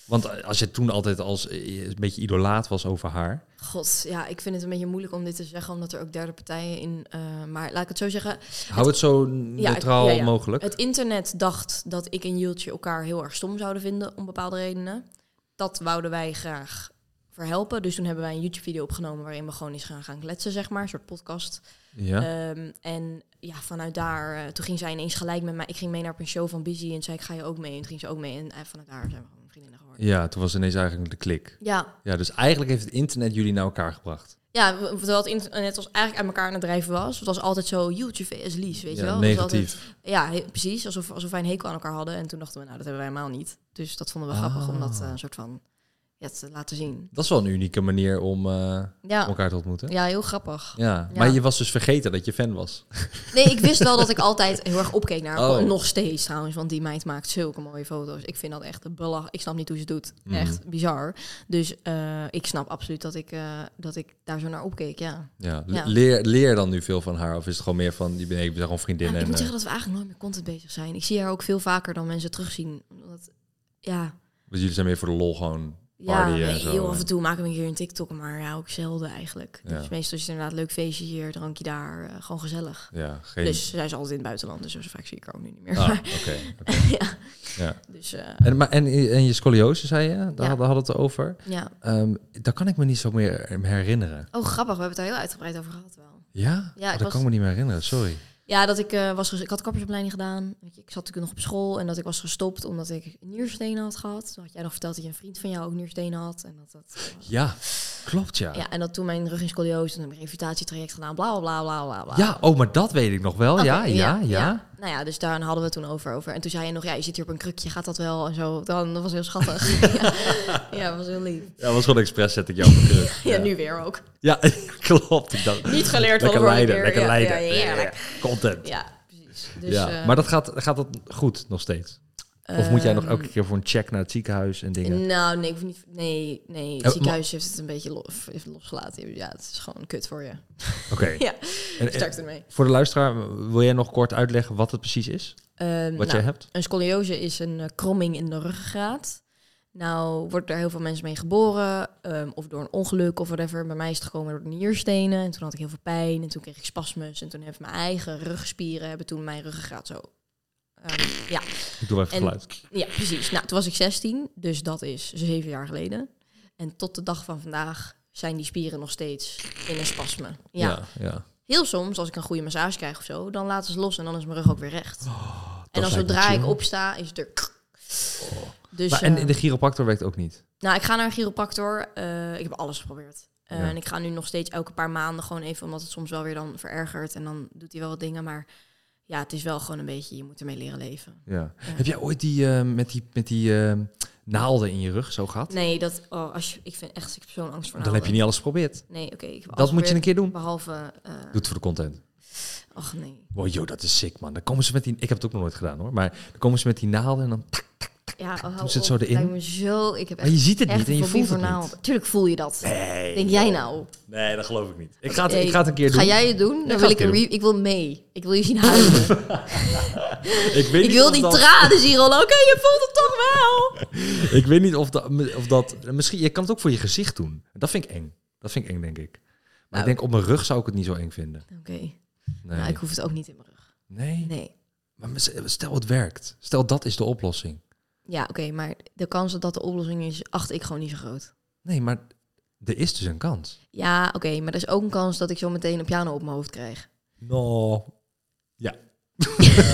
Want eh, als je toen altijd als eh, een beetje idolaat was over haar... God, ja, ik vind het een beetje moeilijk om dit te zeggen, omdat er ook derde partijen in... eh, maar laat ik het zo zeggen, Hou het zo ja, neutraal ja, ja. mogelijk. het internet dacht dat ik en Jultje elkaar heel erg stom zouden vinden, om bepaalde redenen. Dat wouden wij graag verhelpen. Dus toen hebben wij een YouTube-video opgenomen waarin we gewoon eens gaan, gaan kletsen, zeg maar. Een soort podcast. ja. Ehm, en ja, vanuit daar, eh, toen ging zij ineens gelijk met mij. Ik ging mee naar een show van Busy en zei ik, ga je ook mee? En toen ging ze ook mee en eh, vanuit daar zijn we gewoon vriendinnen geworden. ja, toen was ineens eigenlijk de klik. Ja, Ja, dus eigenlijk heeft het internet jullie naar elkaar gebracht. Ja, w- terwijl het internet was eigenlijk aan elkaar aan het drijven was. Het was altijd zo YouTube vs. Lies, weet Ja, je wel. Het was negatief. altijd- ja, he- precies. Alsof, alsof wij een hekel aan elkaar hadden. En toen dachten we, nou, dat hebben wij helemaal niet. Dus dat vonden we grappig om Ah. dat eh, een soort van ja, te laten zien. Dat is wel een unieke manier om eh, Ja, elkaar te ontmoeten. Ja. ja heel grappig. maar je was dus vergeten dat je fan was. Nee, ik wist wel dat ik altijd heel erg opkeek naar haar. Oh. Nog steeds trouwens, want die meid maakt zulke mooie foto's. Ik vind dat echt belachelijk. Ik snap niet hoe ze het doet. Mhm. Echt bizar. Dus eh, ik snap absoluut dat ik, eh, dat ik daar zo naar opkeek, ja. Ja. Ja. Leer, leer dan nu veel van haar? Of is het gewoon meer van, je bent nee, we zijn gewoon vriendin? Ja, en, ik moet eh, zeggen dat we eigenlijk nooit met content bezig zijn. Ik zie haar ook veel vaker dan mensen terugzien. Omdat, ja, dus jullie zijn meer voor de lol gewoon ja partyen en zo. heel af en toe maken we een keer een TikTok, maar ja, ook zelden eigenlijk. Ja. Dus meestal is het inderdaad leuk feestje hier, drankje daar, eh, gewoon gezellig. Ja, geen... Dus zij is altijd in het buitenland, dus zo vaak zie ik haar ook nu niet meer. Ah, Maar, oké. oké. ja, ja. dus eh, En, maar, en, en je scoliose, zei je? Daar hadden- hadden we het over. ja. Ehm, daar kan ik me niet zo meer herinneren. Oh, grappig, we hebben het daar heel uitgebreid over gehad wel. Ja? Ja, Oh, ik dat was- kan ik me niet meer herinneren, sorry. Ja, dat ik, eh, was ges- ik had kappersopleiding gedaan. Weet je, Ik zat natuurlijk nog op school en dat ik was gestopt omdat ik nierstenen had gehad. Toen had jij nog verteld dat je een vriend van jou ook nierstenen had. En dat, dat, eh, Ja, klopt ja. ja. Ja, en dat toen mijn rug in scolioos en een revalidatietraject gedaan, bla bla bla bla bla. bla. oh, maar dat weet ik nog wel. ja, Oké, ja, ja, Nou ja, dus daar hadden we het toen over, over. En toen zei je nog, ja, je zit hier op een krukje, gaat dat wel? En zo, dan, dat was heel schattig. ja. ja, dat was heel lief. Ja, was gewoon expres zet ik jou op de kruk. Ja, nu weer ook. Ja, klopt. Ik dacht, Niet geleerd lekker van de vorige leiden, keer. lekker Ja, leiden. ja, heerlijk. Content. Ja, precies. Dus, ja. eh, maar dat gaat, gaat dat goed nog steeds? Of moet jij nog ehm, elke keer voor een check naar het ziekenhuis en dingen? Oh, Nou, nee, ik hoef niet, nee, nee het maar- ziekenhuis heeft het een beetje lo- heeft losgelaten. Ja, het is gewoon kut voor je. Oké. Ja, En, en Start ermee. voor de luisteraar, wil jij nog kort uitleggen wat het precies is? Ehm, Wat nou, jij hebt? Een scoliose is een eh, kromming in de ruggengraat. Nou, wordt er heel veel mensen mee geboren, ehm, of door een ongeluk of whatever. Bij mij is het gekomen door de nierstenen. En toen had ik heel veel pijn en toen kreeg ik spasmus. En toen hebben mijn eigen rugspieren hebben toen mijn ruggengraat zo. ehm, ja. Ik doe wel even En- geluid. ja, precies. Nou, toen was ik 16, dus dat is zeven jaar geleden. En tot de dag van vandaag zijn die spieren nog steeds in een spasme. ja. ja. ja. Heel soms, als ik een goede massage krijg of zo, dan laten ze los en dan is mijn rug ook weer recht. en dan lijkt me zodra ik chill. Oh. opsta, is het er. Dus, Maar en eh, de chiropractor werkt ook niet. nou, ik ga naar een chiropractor. Eh, ik heb alles geprobeerd. Eh, Ja. En ik ga nu nog steeds elke paar maanden gewoon even, omdat het soms wel weer dan verergert. En dan doet hij wel wat dingen, maar ja, het is wel gewoon een beetje, je moet ermee leren leven. Ja. Heb jij ooit die, eh, met die, met die eh, naalden in je rug zo gehad? Nee, dat, oh, als je, ik vind echt, ik heb zo'n angst voor Dan heb je naalden. niet alles geprobeerd. Nee, oké. ik heb Dat alles moet je een geprobeerd, keer doen. Behalve, eh, Doe het voor de content. ach nee. Wow, joh, dat is sick, man. Dan komen ze met die... Ik heb het ook nog nooit gedaan, hoor. Maar dan komen ze met die naalden en dan... Ja, oh, hou Doen ze het op, zo erin? lijkt me zo, ik heb Maar je echt- ziet het echt niet en je fobie voelt voor het niet. naalden. Tuurlijk voel je dat. Nee. Denk jij nou? Nee, dat geloof ik niet. Ik ga het, ik Hey, ga het een keer doen. Ga jij het doen? Dan ga wil het ik, een doen. re- ik wil mee. Ik wil je zien huilen. Ik, weet ik niet wil of die dat- tranen zien rollen. Oké, je voelt het toch wel. Ik weet niet of dat, of dat... Misschien, je kan het ook voor je gezicht doen. Dat vind ik eng. Dat vind ik eng, denk ik. Maar Nou. ik denk, op mijn rug zou ik het niet zo eng vinden. Oké, Nee. nou ik hoef het ook niet in mijn rug. nee. Nee. Maar mis- stel het werkt. Stel dat is de oplossing. Ja, oké, maar de kans dat dat de oplossing is, acht ik gewoon niet zo groot. Nee, maar er is dus een kans. Ja, oké, maar er is ook een kans dat ik zo meteen een piano op mijn hoofd krijg. No. Nou, Ja.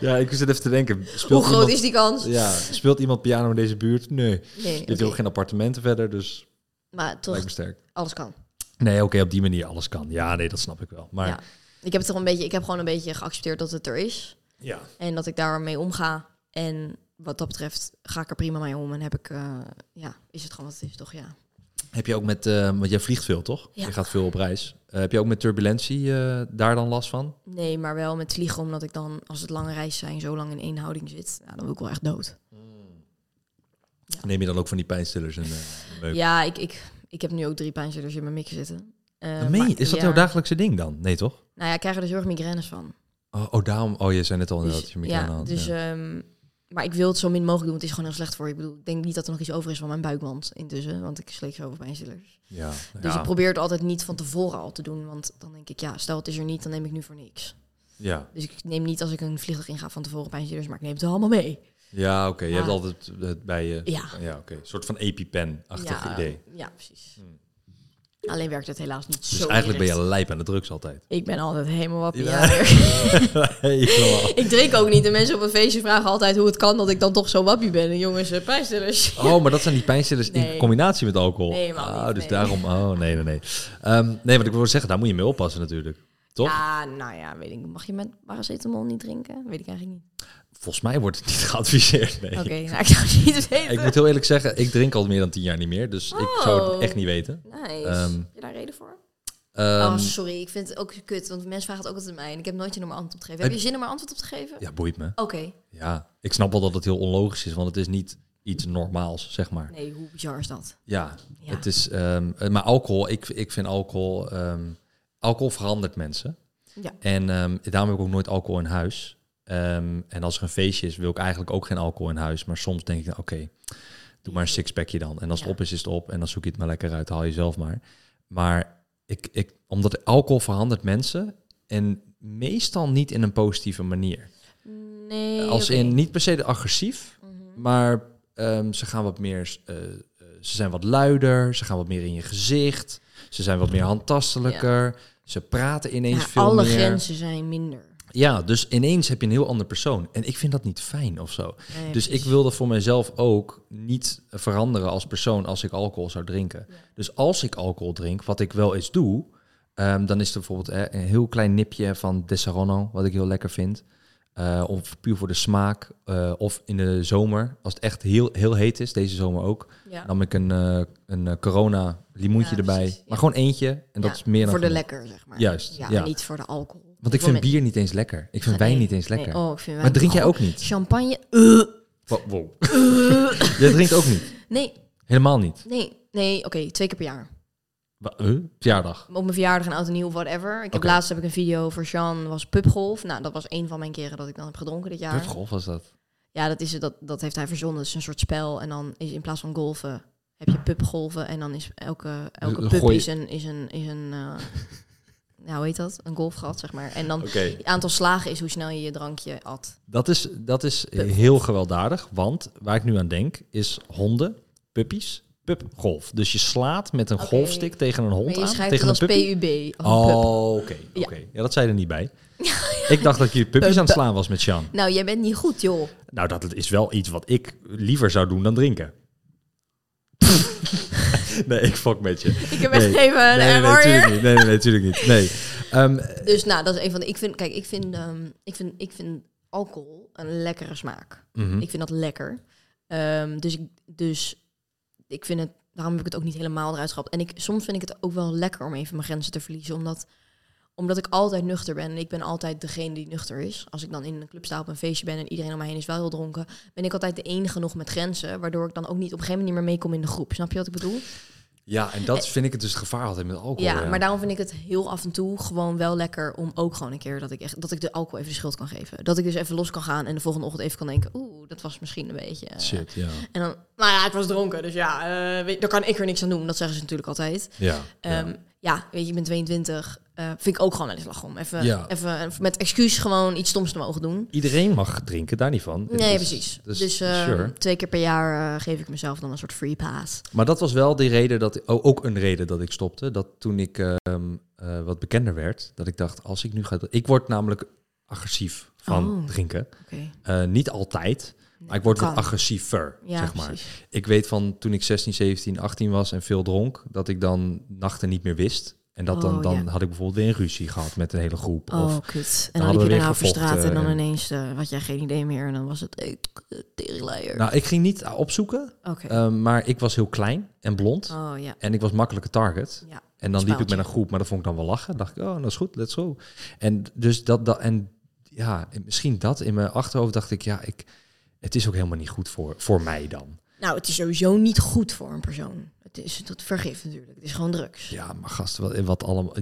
ja, ik zit even te denken. Speelt Hoe groot iemand, is die kans? Ja, speelt iemand piano in deze buurt? Nee. Nee, Je hebt oké. ook geen appartementen verder, dus maar toch, lijkt me sterk. alles kan. Nee, oké, op die manier alles kan. Ja, nee, dat snap ik wel. Maar Ja. Ik heb, het toch een beetje, ik heb gewoon een beetje geaccepteerd dat het er is. ja. En dat ik daarmee omga. En wat dat betreft ga ik er prima mee om. En heb ik, eh, ja, is het gewoon wat het is, toch? Ja. Heb je ook met, eh, want jij vliegt veel, toch? Ja. Je gaat veel op reis. Eh, heb je ook met turbulentie eh, daar dan last van? Nee, maar wel met vliegen, omdat ik dan, als het lange reizen zijn, zo lang in één houding zit. Nou, dan wil ik wel echt dood. Neem je dan ook van die pijnstillers en eh meuk? Ja, ik, ik, ik heb nu ook drie pijnstillers in mijn mik zitten. Eh, Dan meen je- maar- is dat ja. jouw dagelijkse ding dan? Nee, toch? Nou ja, ik krijg er dus heel erg migraines van. Oh, oh, daarom. Oh, je zei net al Dus- inderdaad dat je migraine ja, had. dus, ja. ehm, maar ik wil het zo min mogelijk doen. Het is gewoon heel slecht voor je. Ik bedoel, ik denk niet dat er nog iets over is van mijn buikwand intussen. Want ik sleep zoveel pijnstillers. Ja, Dus ja. ik probeer het altijd niet van tevoren al te doen. Want dan denk ik, ja, stel het is er niet, dan neem ik nu voor niks. ja. Dus ik neem niet als ik een vliegtuig inga van tevoren pijnstillers, maar ik neem het allemaal mee. Ja, oké. Je hebt Ja. altijd het bij je. Ah. Ja. Ja, oké. Een soort van EpiPen-achtig ja, idee. Ja, precies. Alleen werkt het helaas niet Dus zo eigenlijk ben direct. je lijp aan de drugs altijd. Ik ben altijd helemaal wappie. Ja. Ja. Helemaal. ik drink ook niet. De mensen op een feestje vragen altijd hoe het kan dat ik dan toch zo wappie ben. En jongens, eh, pijnstillers. Oh, maar dat zijn die pijnstillers in Nee. combinatie met alcohol. Nee, helemaal oh, niet, dus nee. daarom. Oh, nee, nee, nee. Ehm, nee, wat ik wil zeggen, daar moet je mee oppassen natuurlijk. Toch? Ja, nou ja, weet ik. Mag je met paracetamol niet drinken? Weet ik eigenlijk niet. Volgens mij wordt het niet geadviseerd. Nee. Oké, nou, ik zou het niet weten. Ik moet heel eerlijk zeggen, ik drink al meer dan tien jaar niet meer. Dus ik zou het Oh. echt niet weten. Nice. Ehm, Heb je daar reden voor? Ehm, oh, sorry, ik vind het ook kut, want mensen vragen het ook altijd aan mij en ik heb nooit je nummer antwoord op te geven. Heb je zin om er antwoord op te geven? Ja, boeit me. Oké. Ja, ik snap wel dat het heel onlogisch is, want het is niet iets normaals, zeg maar. Nee, hoe bizar is dat? Ja, Ja. het is. ehm, eh, maar alcohol, ik, ik vind alcohol. ehm, alcohol verandert mensen. Ja. En ehm, daarom heb ik ook nooit alcohol in huis. Ehm, en als er een feestje is, wil ik eigenlijk ook geen alcohol in huis. Maar soms denk ik, nou, oké, doe maar een sixpackje dan. En als Ja. het op is, is het op. En dan zoek je het maar lekker uit, haal je zelf maar. Maar ik, ik, omdat alcohol verandert mensen. En meestal niet in een positieve manier. Nee. Als oké. Mhm. in niet per se agressief, maar ehm, ze gaan wat meer, eh, eh, ze zijn wat luider, ze gaan wat meer in je gezicht, ze zijn wat meer handtastelijker, Ze praten ineens Ja, veel alle meer. grenzen zijn minder. Ja, dus ineens heb je een heel ander persoon. En ik vind dat niet fijn of zo. Nee, Dus ik precies. wil dat voor mezelf ook niet veranderen als persoon als ik alcohol zou drinken. Dus als ik alcohol drink, wat ik wel eens doe, ehm, dan is er bijvoorbeeld eh, een heel klein nipje van Desarano, wat ik heel lekker vind. Eh, of puur voor de smaak. eh, of in de zomer, als het echt heel, heel heet is, deze zomer ook, Ja. nam ik een, eh, een eh, corona limoentje Ja, erbij. precies, ja. Maar gewoon eentje. En dat Ja, is meer dan Voor de genoeg. lekker, zeg maar. Juist, Ja, ja. en niet voor de alcohol. Want ik vind bier niet eens lekker. Ik vind wijn niet eens lekker. oh, ik vind wijn Maar drink jij ook niet? Champagne? Eh, Wow. Jij drinkt ook niet? nee, Helemaal niet? nee, nee. Oké, twee keer per jaar. Wa- huh? Verjaardag? Op mijn verjaardag en oud en nieuw, whatever. Ik heb Oké. laatst heb ik een video voor Jean, was pubgolf. Nou, dat was een van mijn keren dat ik dan heb gedronken dit jaar. Pubgolf was dat? Ja, dat, is, het, dat, dat heeft hij verzonnen. Dat is een soort spel. En dan is in plaats van golven heb je pubgolven. En dan is elke, elke dan pub gooi je- is een... Is een, is een eh, nou, hoe heet dat? Een golfgat, zeg maar. En dan Oké. het aantal slagen is hoe snel je je drankje at. Dat is, dat is heel gewelddadig, want waar ik nu aan denk is honden, puppies, pubgolf. Dus je slaat met een Oké. golfstick tegen een hond Maar je aan, schrijft tegen het een als puppy. PUB. of een pub. Oh, oké. oké. Ja. ja. dat zei er niet bij. Ik dacht dat je puppies aan het slaan was met Sean. Nou, jij bent niet goed, joh. Nou, dat is wel iets wat ik liever zou doen dan drinken. nee, ik fok met je. Ik heb echt Nee. even een nee, nee, nee, error natuurlijk niet. hier. Nee, nee, nee, natuurlijk niet. Nee. Ehm, Dus nou, dat is een van de. Ik vind, kijk, ik vind, ehm, ik vind, ik vind alcohol een lekkere smaak. mhm. Ik vind dat lekker. Ehm, dus, ik, dus ik vind het. Daarom heb ik het ook niet helemaal eruit gehaald. En ik, soms vind ik het ook wel lekker om even mijn grenzen te verliezen. Omdat, omdat ik altijd nuchter ben. En ik ben altijd degene die nuchter is. Als ik dan in een club sta op een feestje ben en iedereen om mij heen is wel heel dronken. Ben ik altijd de enige nog met grenzen. Waardoor ik dan ook niet op een gegeven moment niet meer meekom in de groep. Snap je wat ik bedoel? Ja, en dat vind ik het dus het gevaar altijd met alcohol. Ja, maar daarom vind ik het heel af en toe gewoon wel lekker om ook gewoon een keer dat ik echt dat ik de alcohol even de schuld kan geven. Dat ik dus even los kan gaan en de volgende ochtend even kan denken, oeh, dat was misschien een beetje. eh. Shit, ja. En dan, nou ja, ik was dronken, dus ja, eh, weet, daar kan ik er niks aan doen. Dat zeggen ze natuurlijk altijd. Ja, ja. Ehm, ja. weet je, ik ben 22. eh, vind ik ook gewoon wel eens lachen om even, Ja. even eh, met excuus gewoon iets stoms te mogen doen. Iedereen mag drinken, daar niet van. Nee, Dus- precies. Dus, dus- eh, sure. twee keer per jaar eh, geef ik mezelf dan een soort free pass. Maar dat was wel die reden dat, oh, ook een reden dat ik stopte. Dat toen ik ehm, eh, wat bekender werd, dat ik dacht, als ik nu ga... Ik word namelijk agressief van Oh. drinken. Oké. Eh, niet altijd, maar ik word wat kan. agressiever, Ja, zeg maar. precies. Ik weet van toen ik 16, 17, 18 was en veel dronk, dat ik dan nachten niet meer wist. En dat dan, Oh, dan ja. had ik bijvoorbeeld weer een ruzie gehad met een hele groep. Oh, Of kut. dan En hadden dan liep we weer je daarna over gevochten straat en dan en- ineens eh, had jij geen idee meer. En dan was het eh, k- eh, teringleier. Nou, ik ging niet opzoeken, Oké. eh, maar ik was heel klein en blond. Oh ja. En ik was makkelijke target. ja. En dan liep ik Spaaltje. met een groep, maar dan vond ik dan wel lachen. dacht ik, oh, dat is goed, let's go. En dus dat, dat en ja, en misschien dat in mijn achterhoofd dacht ik, ja, ik, het is ook helemaal niet goed voor, voor mij dan. Nou, het is sowieso niet goed voor een persoon. Het is dat vergif natuurlijk. Het is gewoon drugs. Ja, maar gast, wat, wat allemaal,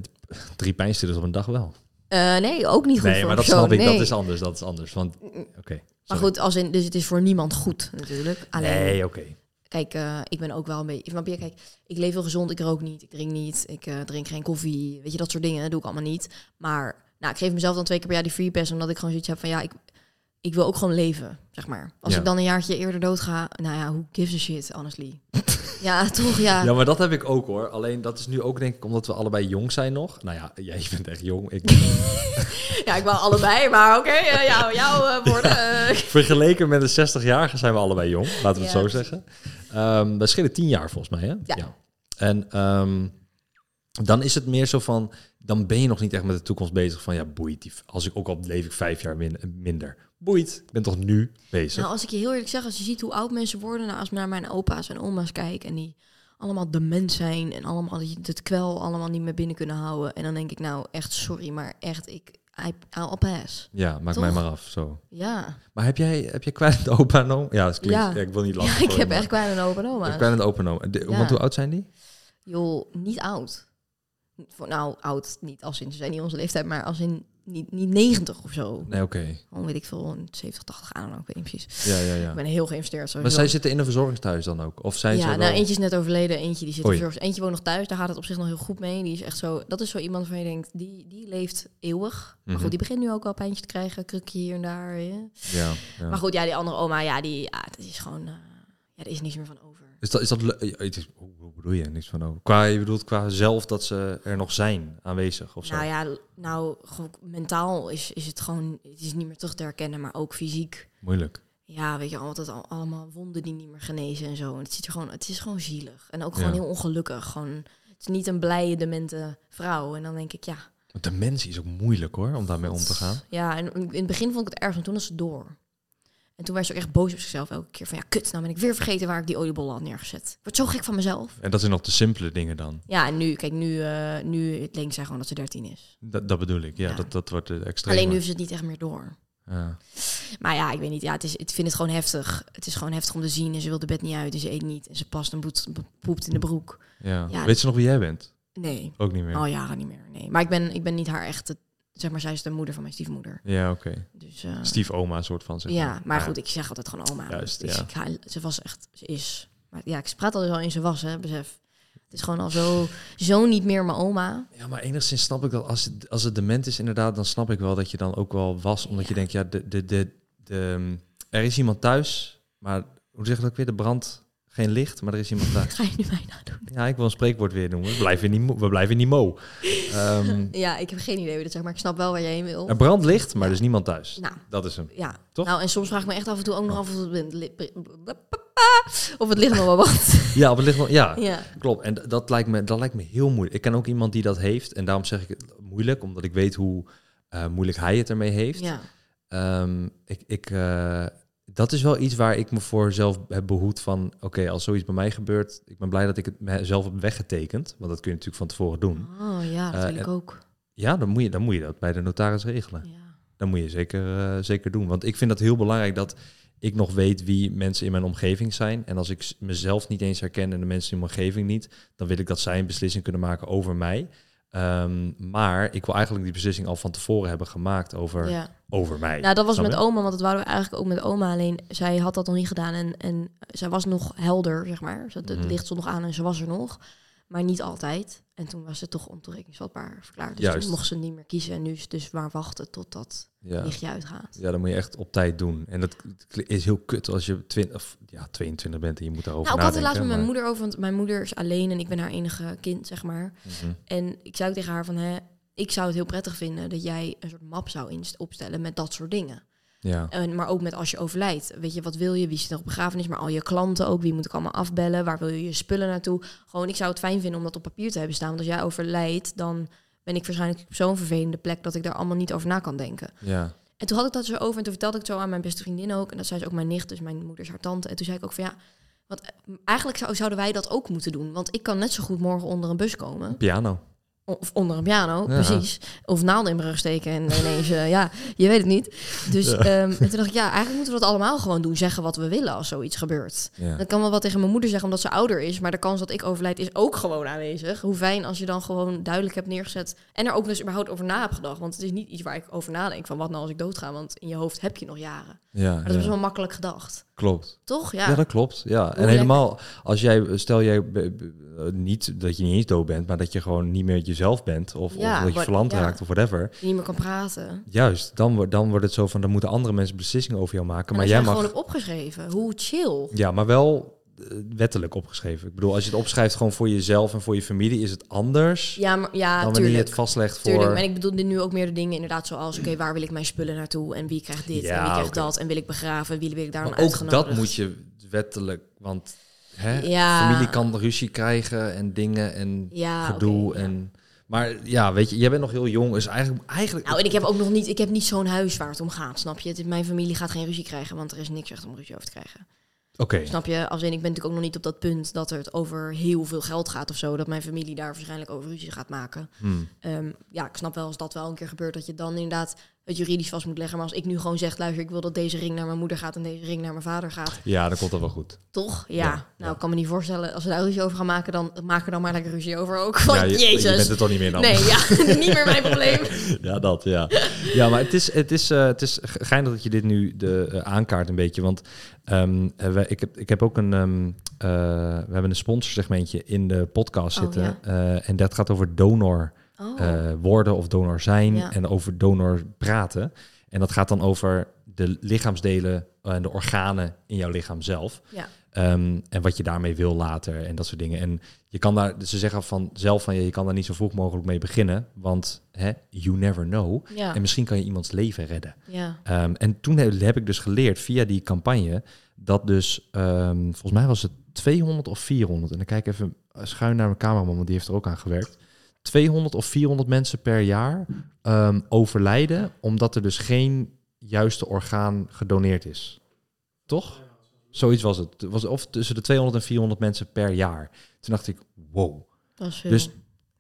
drie pijnstillers op een dag wel. Eh, nee, ook niet goed Nee, maar voor een dat persoon. snap ik, dat nee. Mm, is anders, dat is anders. Want, oké. Maar sorry. goed, als in, dus het is voor niemand goed natuurlijk. Alleen, Nee, oké. kijk, eh, ik ben ook wel een beetje... Snap je? Kijk, ik leef heel gezond, ik rook niet, ik drink niet, ik eh, drink geen koffie. Weet je, dat soort dingen doe ik allemaal niet. Maar nou, ik geef mezelf dan twee keer per jaar die free pass... omdat ik gewoon zoiets heb van, ja, ik, ik wil ook gewoon leven, zeg maar. Als Ja. ik dan een jaartje eerder dood ga, nou ja, who gives a shit, honestly. ja, toch, ja. Ja, maar dat heb ik ook hoor. Alleen dat is nu ook denk ik omdat we allebei jong zijn nog. Nou ja, jij bent echt jong. Ik ben Ja, ik wou allebei, maar oké, eh, jou, jouw eh, woorden. eh. Vergeleken met een 60-jarige zijn we allebei jong, laten we het Ja, zo precies. zeggen. Ehm we schillen 10 jaar volgens mij, hè? Ja. En ehm, dan is het meer zo van, dan ben je nog niet echt met de toekomst bezig van, ja, boeit die. Als ik ook al leef ik vijf jaar min- minder. Boeit, ik ben toch nu bezig. Nou, als ik je heel eerlijk zeg, als je ziet hoe oud mensen worden, nou, als we naar mijn opa's en oma's kijken en die allemaal dement zijn en allemaal dat je het kwel allemaal niet meer binnen kunnen houden. En dan denk ik nou echt sorry, maar echt ik I, I'll pass. ja, maak toch? mij maar af, zo. Ja, Maar heb jij, heb jij kwijt opa en oom? Ja, dat klinkt, Ja. ja, ik wil niet ja lachen. ik sorry, heb maar echt kwijt een opa en ik heb oma. kwijt en opa en oom. De- Ja. Want hoe oud zijn die? Joh, niet oud. Voor, nou, oud niet als in ze zijn niet onze leeftijd, maar als in niet, niet 90 of zo. Nee, oké. Gewoon weet ik veel, 70, 80 aan, ik weet niet precies. Ja, ja, ja. Ik ben heel geïnvesteerd. Maar sowieso. zij zitten in een verzorgingsthuis dan ook? Of zijn ze ja, wel- nou, eentje is net overleden, eentje die zit Oei. in verzorging. Eentje woont nog thuis, daar gaat het op zich nog heel goed mee. Die is echt zo, dat is zo iemand van je denkt, die, die leeft eeuwig. Maar Mhm. goed, die begint nu ook wel pijntje te krijgen, krukje hier en daar. hè. Ja, ja. ah, Maar goed, ja, die andere oma, ja, die, ja, dat is gewoon, eh, ja, er is niks meer van over. Is dat, is dat le- eh, het is- hoe hoe bedoel je? Niks van over. Qua, je bedoelt qua zelf dat ze er nog zijn aanwezig of zo. Nou ja, nou, gewoon mentaal is, is het gewoon, het is niet meer terug te herkennen, maar ook fysiek. Moeilijk. Ja, weet je, altijd al, allemaal wonden die niet meer genezen en zo. En het, ziet er gewoon, het is gewoon zielig. En ook gewoon Ja. heel ongelukkig. Gewoon, het is niet een blije, demente vrouw. En dan denk ik, ja. Want dementie is ook moeilijk hoor, om daarmee om te gaan. Ja, en in het begin vond ik het erg, en toen was het door. En toen werd ze ook echt boos op zichzelf elke keer. Van ja, kut, nou ben ik weer vergeten waar ik die oliebollen had neergezet. Ik word zo gek van mezelf. En dat zijn nog de simpele dingen dan. Ja, en nu, kijk, nu, eh, nu denkt zij gewoon dat ze 13 is. Dat, dat bedoel ik. Ja, Ja. Dat, dat wordt eh, extreem. Alleen nu heeft ze het niet echt meer door. Ja. Maar ja, ik weet niet. Ja, het is, ik vind het gewoon heftig. Het is gewoon heftig om te zien. En ze wil de bed niet uit. En ze eet niet. En ze past en boet- poept in de broek. Ja. Ja. Oh. Weet ze nog wie jij bent? Nee, Ook niet meer. al jaren niet meer. Nee. Maar ik ben, ik ben niet haar echte... Zeg maar, zij is de moeder van mijn stiefmoeder. Ja, oké. Dus, eh, Stief oma soort van. Zeg ja, maar goed, ik zeg altijd gewoon oma. Juist, Dus ja. ik haal- ze was echt... Ze is... Maar ja, ik praat altijd al in ze was, hè, besef. Het is gewoon al zo, zo niet meer mijn oma. Ja, maar enigszins snap ik dat als het, als het dement is, inderdaad, dan snap ik wel dat je dan ook wel was. Omdat je Ja. denkt, ja, de, de, de, de, ehm, er is iemand thuis, maar hoe zeg je dat ook weer? De brand, geen licht, maar er is iemand thuis. Ga je nu mij nadoen? ja, ik wil een spreekwoord weer noemen. We blijven niet, mo- we blijven niet mo. Ehm, Ja, ik heb geen idee hoe dat zeg, maar ik snap wel waar jij heen wil. er brandt licht, maar er is niemand thuis. Nou, Dat is hem. Ja. Toch? Nou, en soms vraag ik me echt af en toe ook nog af of het, li- of het lichaam wel wat. Ja, op het licht. Ja, ja. klopt. En d- dat lijkt, me, dat lijkt me heel moeilijk. Ik ken ook iemand die dat heeft. En daarom zeg ik het moeilijk, omdat ik weet hoe eh, moeilijk hij het ermee heeft. ja. Ehm, ik, ik, eh, dat is wel iets waar ik me voor zelf heb behoed van... oké, als zoiets bij mij gebeurt... ik ben blij dat ik het mezelf heb weggetekend. Want dat kun je natuurlijk van tevoren doen. Oh ja, dat Eh, wil ik en- ook. Ja, dan moet je, dan moet je dat bij de notaris regelen. Ja. Dat moet je zeker, eh, zeker doen. Want ik vind dat heel belangrijk dat ik nog weet wie mensen in mijn omgeving zijn. En als ik s- mezelf niet eens herken en de mensen in mijn omgeving niet... dan wil ik dat zij een beslissing kunnen maken over mij... Ehm, maar ik wil eigenlijk die beslissing al van tevoren hebben gemaakt over, ja. over mij. Nou, dat was Snap met je? oma, want dat wouden we eigenlijk ook met oma. Alleen zij had dat nog niet gedaan en, en zij was nog helder, zeg maar. Ze- Het Mhm. licht stond nog aan en ze was er nog. Maar niet altijd. En toen was ze toch ontoerekeningsvatbaar verklaard. Dus Juist. toen mocht ze niet meer kiezen. En nu is het dus maar wachten tot dat ja. lichtje uitgaat. Ja, dat moet je echt op tijd doen. En dat is heel kut als je twin, of, ja, 22 bent en je moet daarover Nou, ik had nadenken. het laatst met mijn maar- moeder over, want mijn moeder is alleen en ik ben haar enige kind, zeg maar. Mhm. En ik zei ook tegen haar van, hè, ik zou het heel prettig vinden dat jij een soort map zou inst- opstellen met dat soort dingen. Ja, En, maar ook met als je overlijdt. Weet je, wat wil je? Wie zit er op begrafenis? Maar al je klanten ook. Wie moet ik allemaal afbellen? Waar wil je je spullen naartoe? Gewoon, ik zou het fijn vinden om dat op papier te hebben staan. Want als jij overlijdt, dan ben ik waarschijnlijk op zo'n vervelende plek dat ik daar allemaal niet over na kan denken. ja, En toen had ik dat zo over en toen vertelde ik het zo aan mijn beste vriendin ook. En dat zij is ook mijn nicht, dus mijn moeder is haar tante. En toen zei ik ook van ja, want eh, eigenlijk zou, zouden wij dat ook moeten doen. Want ik kan net zo goed morgen onder een bus komen. piano. Of onder een piano, Ja. precies. Of naalden in mijn rug steken en ineens, eh, ja, je weet het niet. Dus Ja. ehm, en toen dacht ik, ja, eigenlijk moeten we dat allemaal gewoon doen. Zeggen wat we willen als zoiets gebeurt. Ja. Dat kan wel wat tegen mijn moeder zeggen, omdat ze ouder is. Maar de kans dat ik overlijd is ook gewoon aanwezig. Hoe fijn als je dan gewoon duidelijk hebt neergezet. En er ook dus überhaupt over na hebt gedacht. Want het is niet iets waar ik over nadenk. Van wat nou als ik doodga? Want in je hoofd heb je nog jaren. Ja, Maar dat is ja. wel makkelijk gedacht. klopt. Toch? Ja. Ja. dat klopt. Ja. En lekker. helemaal, als jij, stel jij eh, eh, niet dat je niet eens dood bent, maar dat je gewoon niet meer jezelf bent, of, Ja, of dat je wat- verlamd ja. raakt of whatever. Je niet meer kan praten. Juist, dan, wordt- dan wordt het zo van, dan moeten andere mensen beslissingen over jou maken, maar Maar jij jij mag... gewoon op opgeschreven. Hoe chill. Ja, maar wel eh, wettelijk opgeschreven. Ik bedoel, als je het opschrijft gewoon voor jezelf en voor je familie, is het anders Ja, maar, ja dan wanneer je tuurlijk. het vastlegt voor... Tuurlijk, maar ik bedoel nu ook meer de dingen inderdaad zoals... oké, waar wil ik mijn spullen naartoe en wie krijgt dit en Ja, wie krijgt oké. dat... en wil ik begraven, wie wil ik daar dan Maar ook uitgenodigd? dat moet je wettelijk, want hè, Ja. familie kan ruzie krijgen en dingen en Ja, gedoe. oké, ja. en, Maar ja, weet je, jij bent nog heel jong, dus eigenlijk... eigenlijk Nou, en ik heb ook nog niet, ik heb niet zo'n huis waar het om gaat, snap je? Het is- Mijn familie gaat geen ruzie krijgen, want er is niks echt om ruzie over te krijgen. Oké, Snap je? Als in, ik ben natuurlijk ook nog niet op dat punt dat het over heel veel geld gaat of zo. Dat mijn familie daar waarschijnlijk over ruzie gaat maken. hmm, Ehm, ja, ik snap wel als dat wel een keer gebeurt, dat je dan inderdaad het juridisch vast moet leggen. Maar als ik nu gewoon zeg, luister, ik wil dat deze ring naar mijn moeder gaat en deze ring naar mijn vader gaat. ja, dan komt dat wel goed. Toch? Ja. Ja, nou, ja. ik kan me niet voorstellen. Als we daar ruzie over gaan maken, dan maak er dan maar lekker ruzie over ook. Van, ja, je, je jezus. bent het toch niet meer dan. nee, ja, niet meer mijn probleem. Ja, dat, ja. Ja, maar het is, het is, eh, het is ge- geinig dat je dit nu de, eh, aankaart een beetje. Want ehm, eh, wij- ik, heb, ik heb ook een... ehm, eh, we hebben een sponsorsegmentje in de podcast Oh, zitten. ja. eh, en dat gaat over donor... Oh, eh, worden of donor zijn Ja. en over donor praten. En dat gaat dan over de lichaamsdelen en de organen in jouw lichaam zelf. Ja. Ehm, en wat je daarmee wil later en dat soort dingen. En je kan daar, ze zeggen van zelf van je, je kan daar niet zo vroeg mogelijk mee beginnen, want hè, you never know. Ja. En misschien kan je iemands leven redden. ja. Ehm, en toen heb, heb ik dus geleerd via die campagne dat dus, ehm, volgens mij was het 200 of 400. En dan kijk ik even eh, schuin naar mijn cameraman, want die heeft er ook aan gewerkt. 200 of 400 mensen per jaar ehm, overlijden omdat er dus geen juiste orgaan gedoneerd is. Toch? Zoiets was het. Het was of tussen de 200 en 400 mensen per jaar. Toen dacht ik, wow. Dat is veel. Dus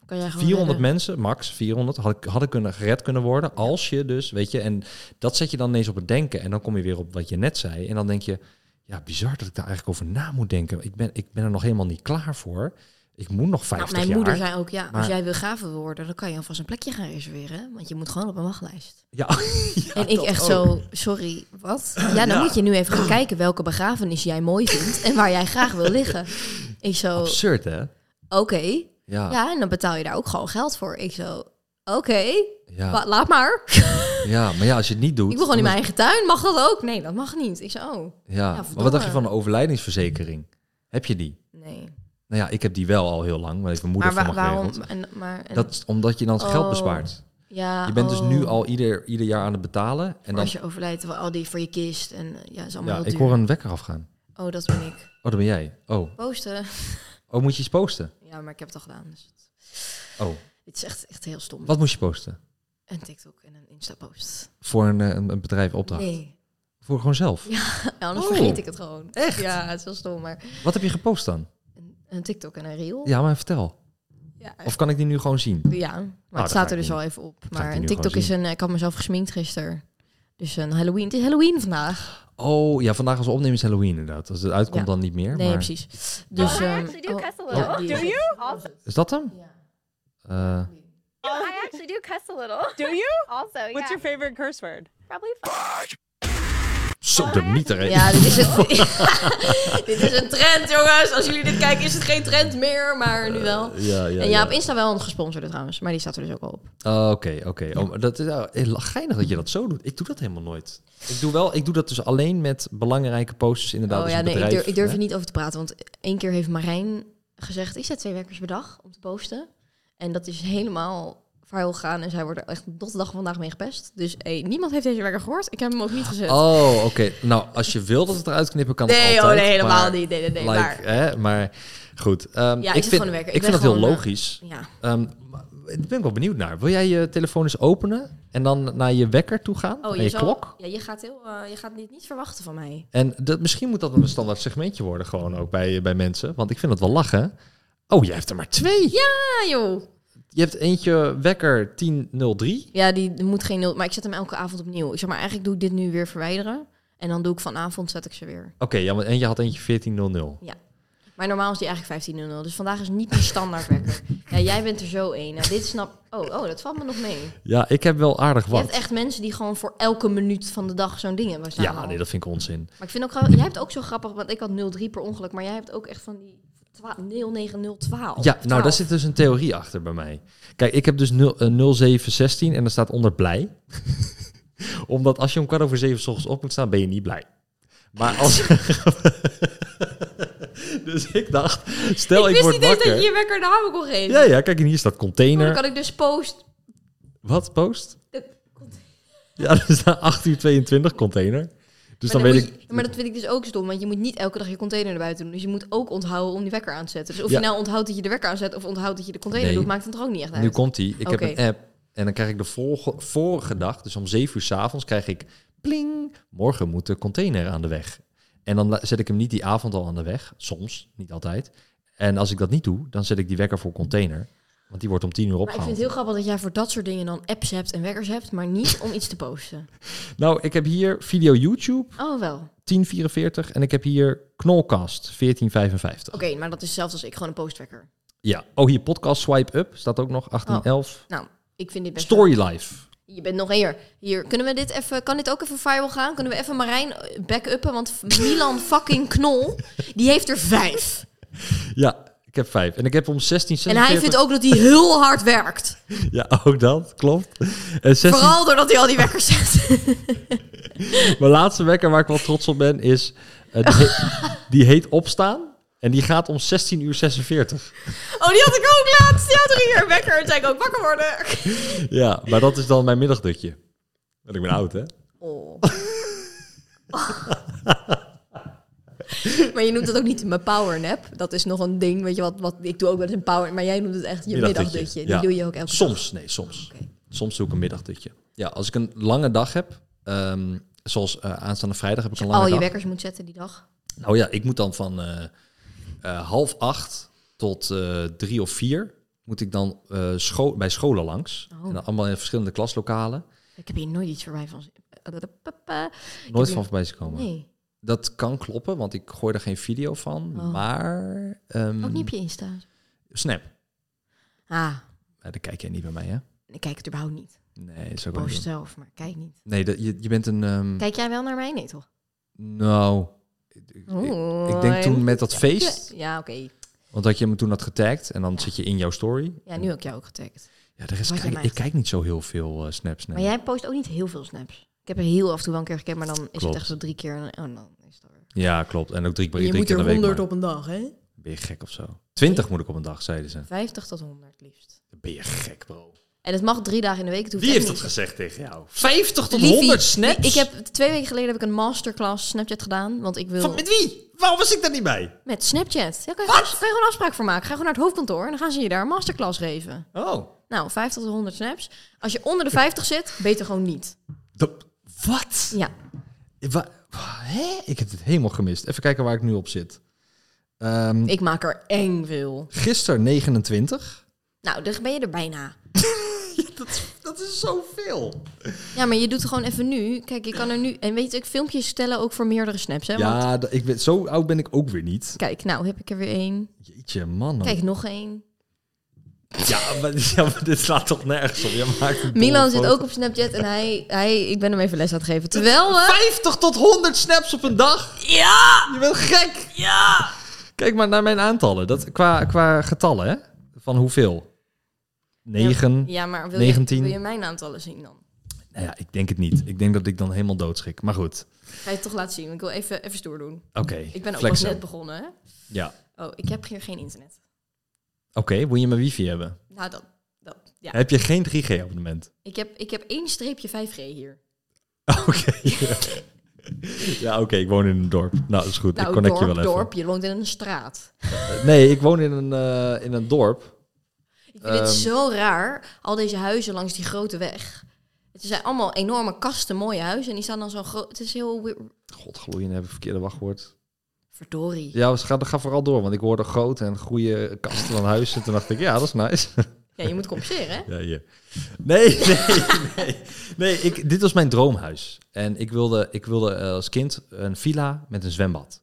kan jij gewoon 400 redden. mensen, max 400, hadden, hadden kunnen gered kunnen worden als je dus, weet je, en dat zet je dan ineens op het denken en dan kom je weer op wat je net zei en dan denk je, ja, bizar dat ik daar eigenlijk over na moet denken. Ik ben, ik ben er nog helemaal niet klaar voor. Ik moet nog 50 Nou, mijn jaar. moeder zei ook, ja, als Maar- jij wil graven worden, dan kan je alvast een plekje gaan reserveren. hè, Want je moet gewoon op een wachtlijst. Ja, ja, en ik dat echt ook. zo, sorry, wat? Ja, dan moet je nu even gaan kijken welke begrafenis jij mooi vindt en waar jij graag wil liggen. Ik zo, oké. Absurd, hè? Ja, ja, Ja, en dan betaal je daar ook gewoon geld voor. Ik zo, oké, ja, wa- laat maar. Maar ja, als je het niet doet... Ik wil gewoon in dan- mijn eigen tuin. Mag dat ook? Nee, dat mag niet. Ik zo, oh, Ja, maar verdomme. wat dacht je van een overlijdingsverzekering? Heb je die? nee. Nou ja, ik heb die wel al heel lang, want ik mijn moeder Maar van wa- me waarom? geregeld. En, maar, en- Dat is omdat je dan geld Oh. bespaart. ja, Je bent dus nu oh. al ieder, ieder jaar aan het betalen. En dan, Als je overlijdt, wel al die voor je kist en eh, ja, is allemaal ja, heel ik duur. hoor een wekker afgaan. Oh, dat ben ik. Oh, dat ben jij. Oh, Posten. oh moet je iets posten? Ja, maar ik heb het al gedaan. Dus het, Oh, het is echt, echt heel stom. wat moest je posten? Een TikTok en een Insta-post. Voor een, eh, een, een bedrijf opdracht? Nee, Voor gewoon zelf? Ja. anders Oh. vergeet ik het gewoon. Echt? Ja, het is wel stom, maar Wat heb je gepost dan? een, een TikTok en een reel. Ja, maar vertel. Ja, Of kan ik die nu gewoon zien? ja, maar Nou, dat het ga ik staat er dus doen. al even op. ik die Maar een nu TikTok gewoon is een... eh, Ik had mezelf gesminkt gisteren. Dus een Halloween. Het is Halloween vandaag. Oh, ja, vandaag als we opnemen is Halloween inderdaad. Als het uitkomt Ja. dan niet meer. Nee, maar... precies. Dus, I ehm, actually do oh, cuss ja, a little. die do is het. you? Is dat hem? Ja. Eh, I actually do cuss a little. Do you? Also, yeah. What's your favorite curse word? Probably f- Zo, de mieter. hè? Oh, Ja, dit is, een, dit is een trend, jongens. Als jullie dit kijken, is het geen trend meer, maar nu wel. Ja, Eh, ja, en ja, ja. op Insta wel een gesponsorde trouwens, maar die staat er dus ook al op. Oh, Oké, oké. Oh, maar dat is ja, heel geinig dat je dat zo doet. Ik doe dat helemaal nooit. Ik doe wel, ik doe dat dus alleen met belangrijke posters inderdaad. oh als ja, een nee, ik bedrijf, durf, ik durf hè? er niet over te praten, want één keer heeft Marijn gezegd, ik zet twee werkers per dag om te posten. En dat is helemaal vuil gegaan en zij wordt er echt tot de dag vandaag mee gepest. Dus hey, niemand heeft deze werker gehoord, ik heb hem ook niet gezet. Oh, oké. Nou, als je wil dat het eruit knippen, kan het nee, altijd. oh, nee, helemaal maar, niet. Nee, nee, nee, like, maar- Hè, maar goed. ehm, ik zit ik vind, gewoon te werken. Ik vind Ik ben dat heel gewoon, eh, logisch. Ja, Ehm, maar ik ben ik wel benieuwd naar. Wil jij je telefoon eens openen en dan naar je wekker toe gaan? oh, naar je, je zal- klok? Ja, je gaat, heel, eh, je gaat dit niet verwachten van mij. En dat, misschien moet dat een standaard segmentje worden gewoon ook bij, bij mensen. Want ik vind dat wel lachen. Oh, jij hebt er maar twee. Ah joh. Je hebt eentje wekker 1003. Ja, die moet geen nul. Maar ik zet hem elke avond opnieuw. Ik zeg maar, eigenlijk doe ik dit nu weer verwijderen. En dan doe ik vanavond, zet ik ze weer. Oké, ja, maar en je had eentje 1400. Maar normaal is die eigenlijk 15.00. Dus vandaag is niet die standaard wekker. Ja, jij bent er zo één. Nou, dit snap... Oh, oh, dat valt me nog mee. Ja, ik heb wel aardig Je hebt wat. echt mensen die gewoon voor elke minuut van de dag zo'n ding hebben staan. Ja, al. nee, dat vind ik onzin. Maar ik vind ook... gra- Jij hebt ook zo grappig, want ik had 03 per ongeluk. Maar jij hebt ook echt van die... 12 09012. Ja, nou, daar 12. zit dus een theorie achter bij mij. Kijk, ik heb dus 0, eh, 0716 en daar staat onder blij. Omdat als je om kwart over zeven 's ochtends op moet staan, ben je niet blij. Maar als... dus ik dacht, stel ik, ik wist word niet eens wakker... dat je je wekker namen kon geven. Ja, ja, kijk, en hier staat Maar container. dan kan ik dus post... Wat, post? Eh, Ja, er staat 8 uur 22 container. Dus dan, maar, weet moet ik... je- maar dat vind ik dus ook stom, want je moet niet elke dag je container naar buiten doen. Dus je moet ook onthouden om die wekker aan te zetten. Dus of Ja. je nou onthoudt dat je de wekker aanzet of onthoudt dat je de container Nee. doet, maakt het er ook niet echt uit. Nu komt die. Ik heb Oké. een app en dan krijg ik de volge- vorige dag, dus om 7 uur s'avonds, krijg ik pling. Morgen moet de container aan de weg. En dan la- zet ik hem niet die avond al aan de weg. Soms, niet altijd. En als ik dat niet doe, dan zet ik die wekker voor container. Want die wordt om 10 uur maar ik vind opgehaald. het heel grappig dat jij voor dat soort dingen dan apps hebt en wekkers hebt, maar niet om iets te posten. Nou, ik heb hier video YouTube Oh wel. Oké, 1044 en ik heb hier Knolcast 1455. maar dat is hetzelfde als ik gewoon een postwekker. Ja. Oh, hier podcast Swipe Up staat ook nog 1811. Nou, ik vind dit best Story Life. wel- Je bent nog hier. Hier, kunnen we dit even, kan dit ook even viral gaan? Kunnen we even Marijn eh, back-uppen? Want Milan fucking Knol, die heeft er vijf. Ja, Ik heb vijf. En ik heb om 16, En hij 46 vindt ook dat hij heel hard werkt. Ja, ook dat, klopt. Eh, En 16... Vooral doordat hij al die wekkers zet. Mijn laatste wekker waar ik wel trots op ben is... eh, die, heet, die heet Opstaan. En die gaat om 16 uur 46. Oh, die had ik ook laatst. Die had er hier een wekker. En zei ik ook wakker worden. Ja, maar dat is dan mijn middagdutje. Want ik ben oud, hè? Oh. maar je noemt het ook niet mijn powernap. Dat is nog een ding, weet je wat, wat ik doe ook wel eens een power, maar jij noemt het echt je Middagdutje, middagdutje. Die ja. doe je ook elke Soms, nee, soms. Oké. Soms doe ik een middagdutje. Ja, als ik een lange dag heb... ehm, zoals eh, aanstaande vrijdag heb ik een dag. lange Al je dag. wekkers moet zetten die dag. Nou ja, ik moet dan van eh, eh, half acht tot eh, drie of vier... moet ik dan eh, scho- bij scholen langs. Oh. En dan allemaal in verschillende klaslokalen. Ik heb hier nooit iets voorbij van. zien. Ik heb Nooit hier- van voorbij zien komen. Nee, Dat kan kloppen, want ik gooi er geen video van. Oh. Maar... ehm, ook niet op je Insta. Snap. Ah, Ja, dat kijk jij niet bij mij, hè? ik kijk het überhaupt niet. Nee, dat is ook wel Post niet. zelf, maar kijk niet. Nee, dat, je, je bent een... ehm, Kijk jij wel naar mij? Nee, toch? nou... ik- ik- Ik denk toen met dat feest, Ja, oké. want dat je me toen had getagd en dan zit je in jouw story. Ja, nu heb ik jou ook getagd. Ja, de rest Had je kijk, mij ik kijk niet zo heel veel eh, snaps. Nee. Maar jij post ook niet heel veel snaps. Ik heb er heel af en toe wel een keer gekeken, maar dan is het Klopt. echt zo drie keer. en- Oh, dan is het alweer. Ja, klopt. En ook drie, drie keer in de week. maar. een dag, hè? Ben je gek of zo? Twintig moet ik op een dag, zeiden ze. 50 tot 100 liefst. Ben je gek, bro? En het mag drie dagen in de week. Het hoeft Wie echt heeft dat niet. gezegd tegen jou? 50 tot Liefie, 100 snaps? Ik heb twee weken geleden heb ik een masterclass Snapchat gedaan, want ik wil Van, met wie? Waarom was ik daar niet bij? met Snapchat. Ja, kan, je gewoon, kan je gewoon een afspraak voor maken? Ga gewoon naar het hoofdkantoor en dan gaan ze je daar een masterclass geven. Oh. Nou, 50 tot 100 snaps. Als je onder de 50 zit, beter gewoon niet. Dat- wat? Ja. Wa- Hè? Ik heb het helemaal gemist. Even kijken waar ik nu op zit. Ehm Ik maak er eng veel. Gisteren 29. Nou, dan ben je er bijna. Dat, dat is zoveel. Ja, maar je doet het gewoon even nu. Kijk, ik kan er nu... En weet ik, filmpjes stellen ook voor meerdere snaps, hè? Want, Ja, d- ik ben, zo oud ben ik ook weer niet. kijk, nou heb ik er weer één. Jeetje, man. Kijk, nog één. Ja, maar, ja, maar dit slaat toch nergens op. Jij maakt een Milan domme zit foto. ook op Snapchat en hij... hij ik ben hem even les aan het geven. Terwijl we... 50 tot 100 snaps op een dag? Ja! Je bent gek! Ja! Kijk maar naar mijn aantallen. Dat, qua, qua getallen, hè? Van hoeveel? 9? Ja, maar wil, Je, 19. wil je mijn aantallen zien dan? Nou ja, ik denk het niet. Ik denk dat ik dan helemaal doodschrik. Maar goed. Ga je het toch laten zien? want Ik wil even, even stoer doen. Oké. Ik ben ook pas flexen. net begonnen, hè? Ja. Oké, Oh, ik heb hier geen internet. wil je mijn wifi hebben? Nou, dat... dat ja. Heb je geen 3G-abonnement? Ik, heb, ik heb één streepje 5G hier. Oké. ja, oké, ik woon in een dorp. Nou, dat is goed. ik Nou, connect dorp, je wel even. dorp. Je woont in een straat. Nee, ik woon in een, eh, in een dorp. Ik vind het Ehm. zo raar, al deze huizen langs die grote weg. Het zijn allemaal enorme kasten, mooie huizen. En die staan dan zo groot. Het is heel... we- Godgloeiend, heb ik verkeerde wachtwoord. Verdorie. Ja, ga, ga vooral door, want ik hoorde groot en goede kasten van huizen. Toen dacht ik, ja, dat is nice. Ja, je moet compenseren, hè? Ja, hier. Nee, nee, nee. nee ik, dit was mijn droomhuis. En ik wilde, ik wilde eh, als kind een villa met een zwembad.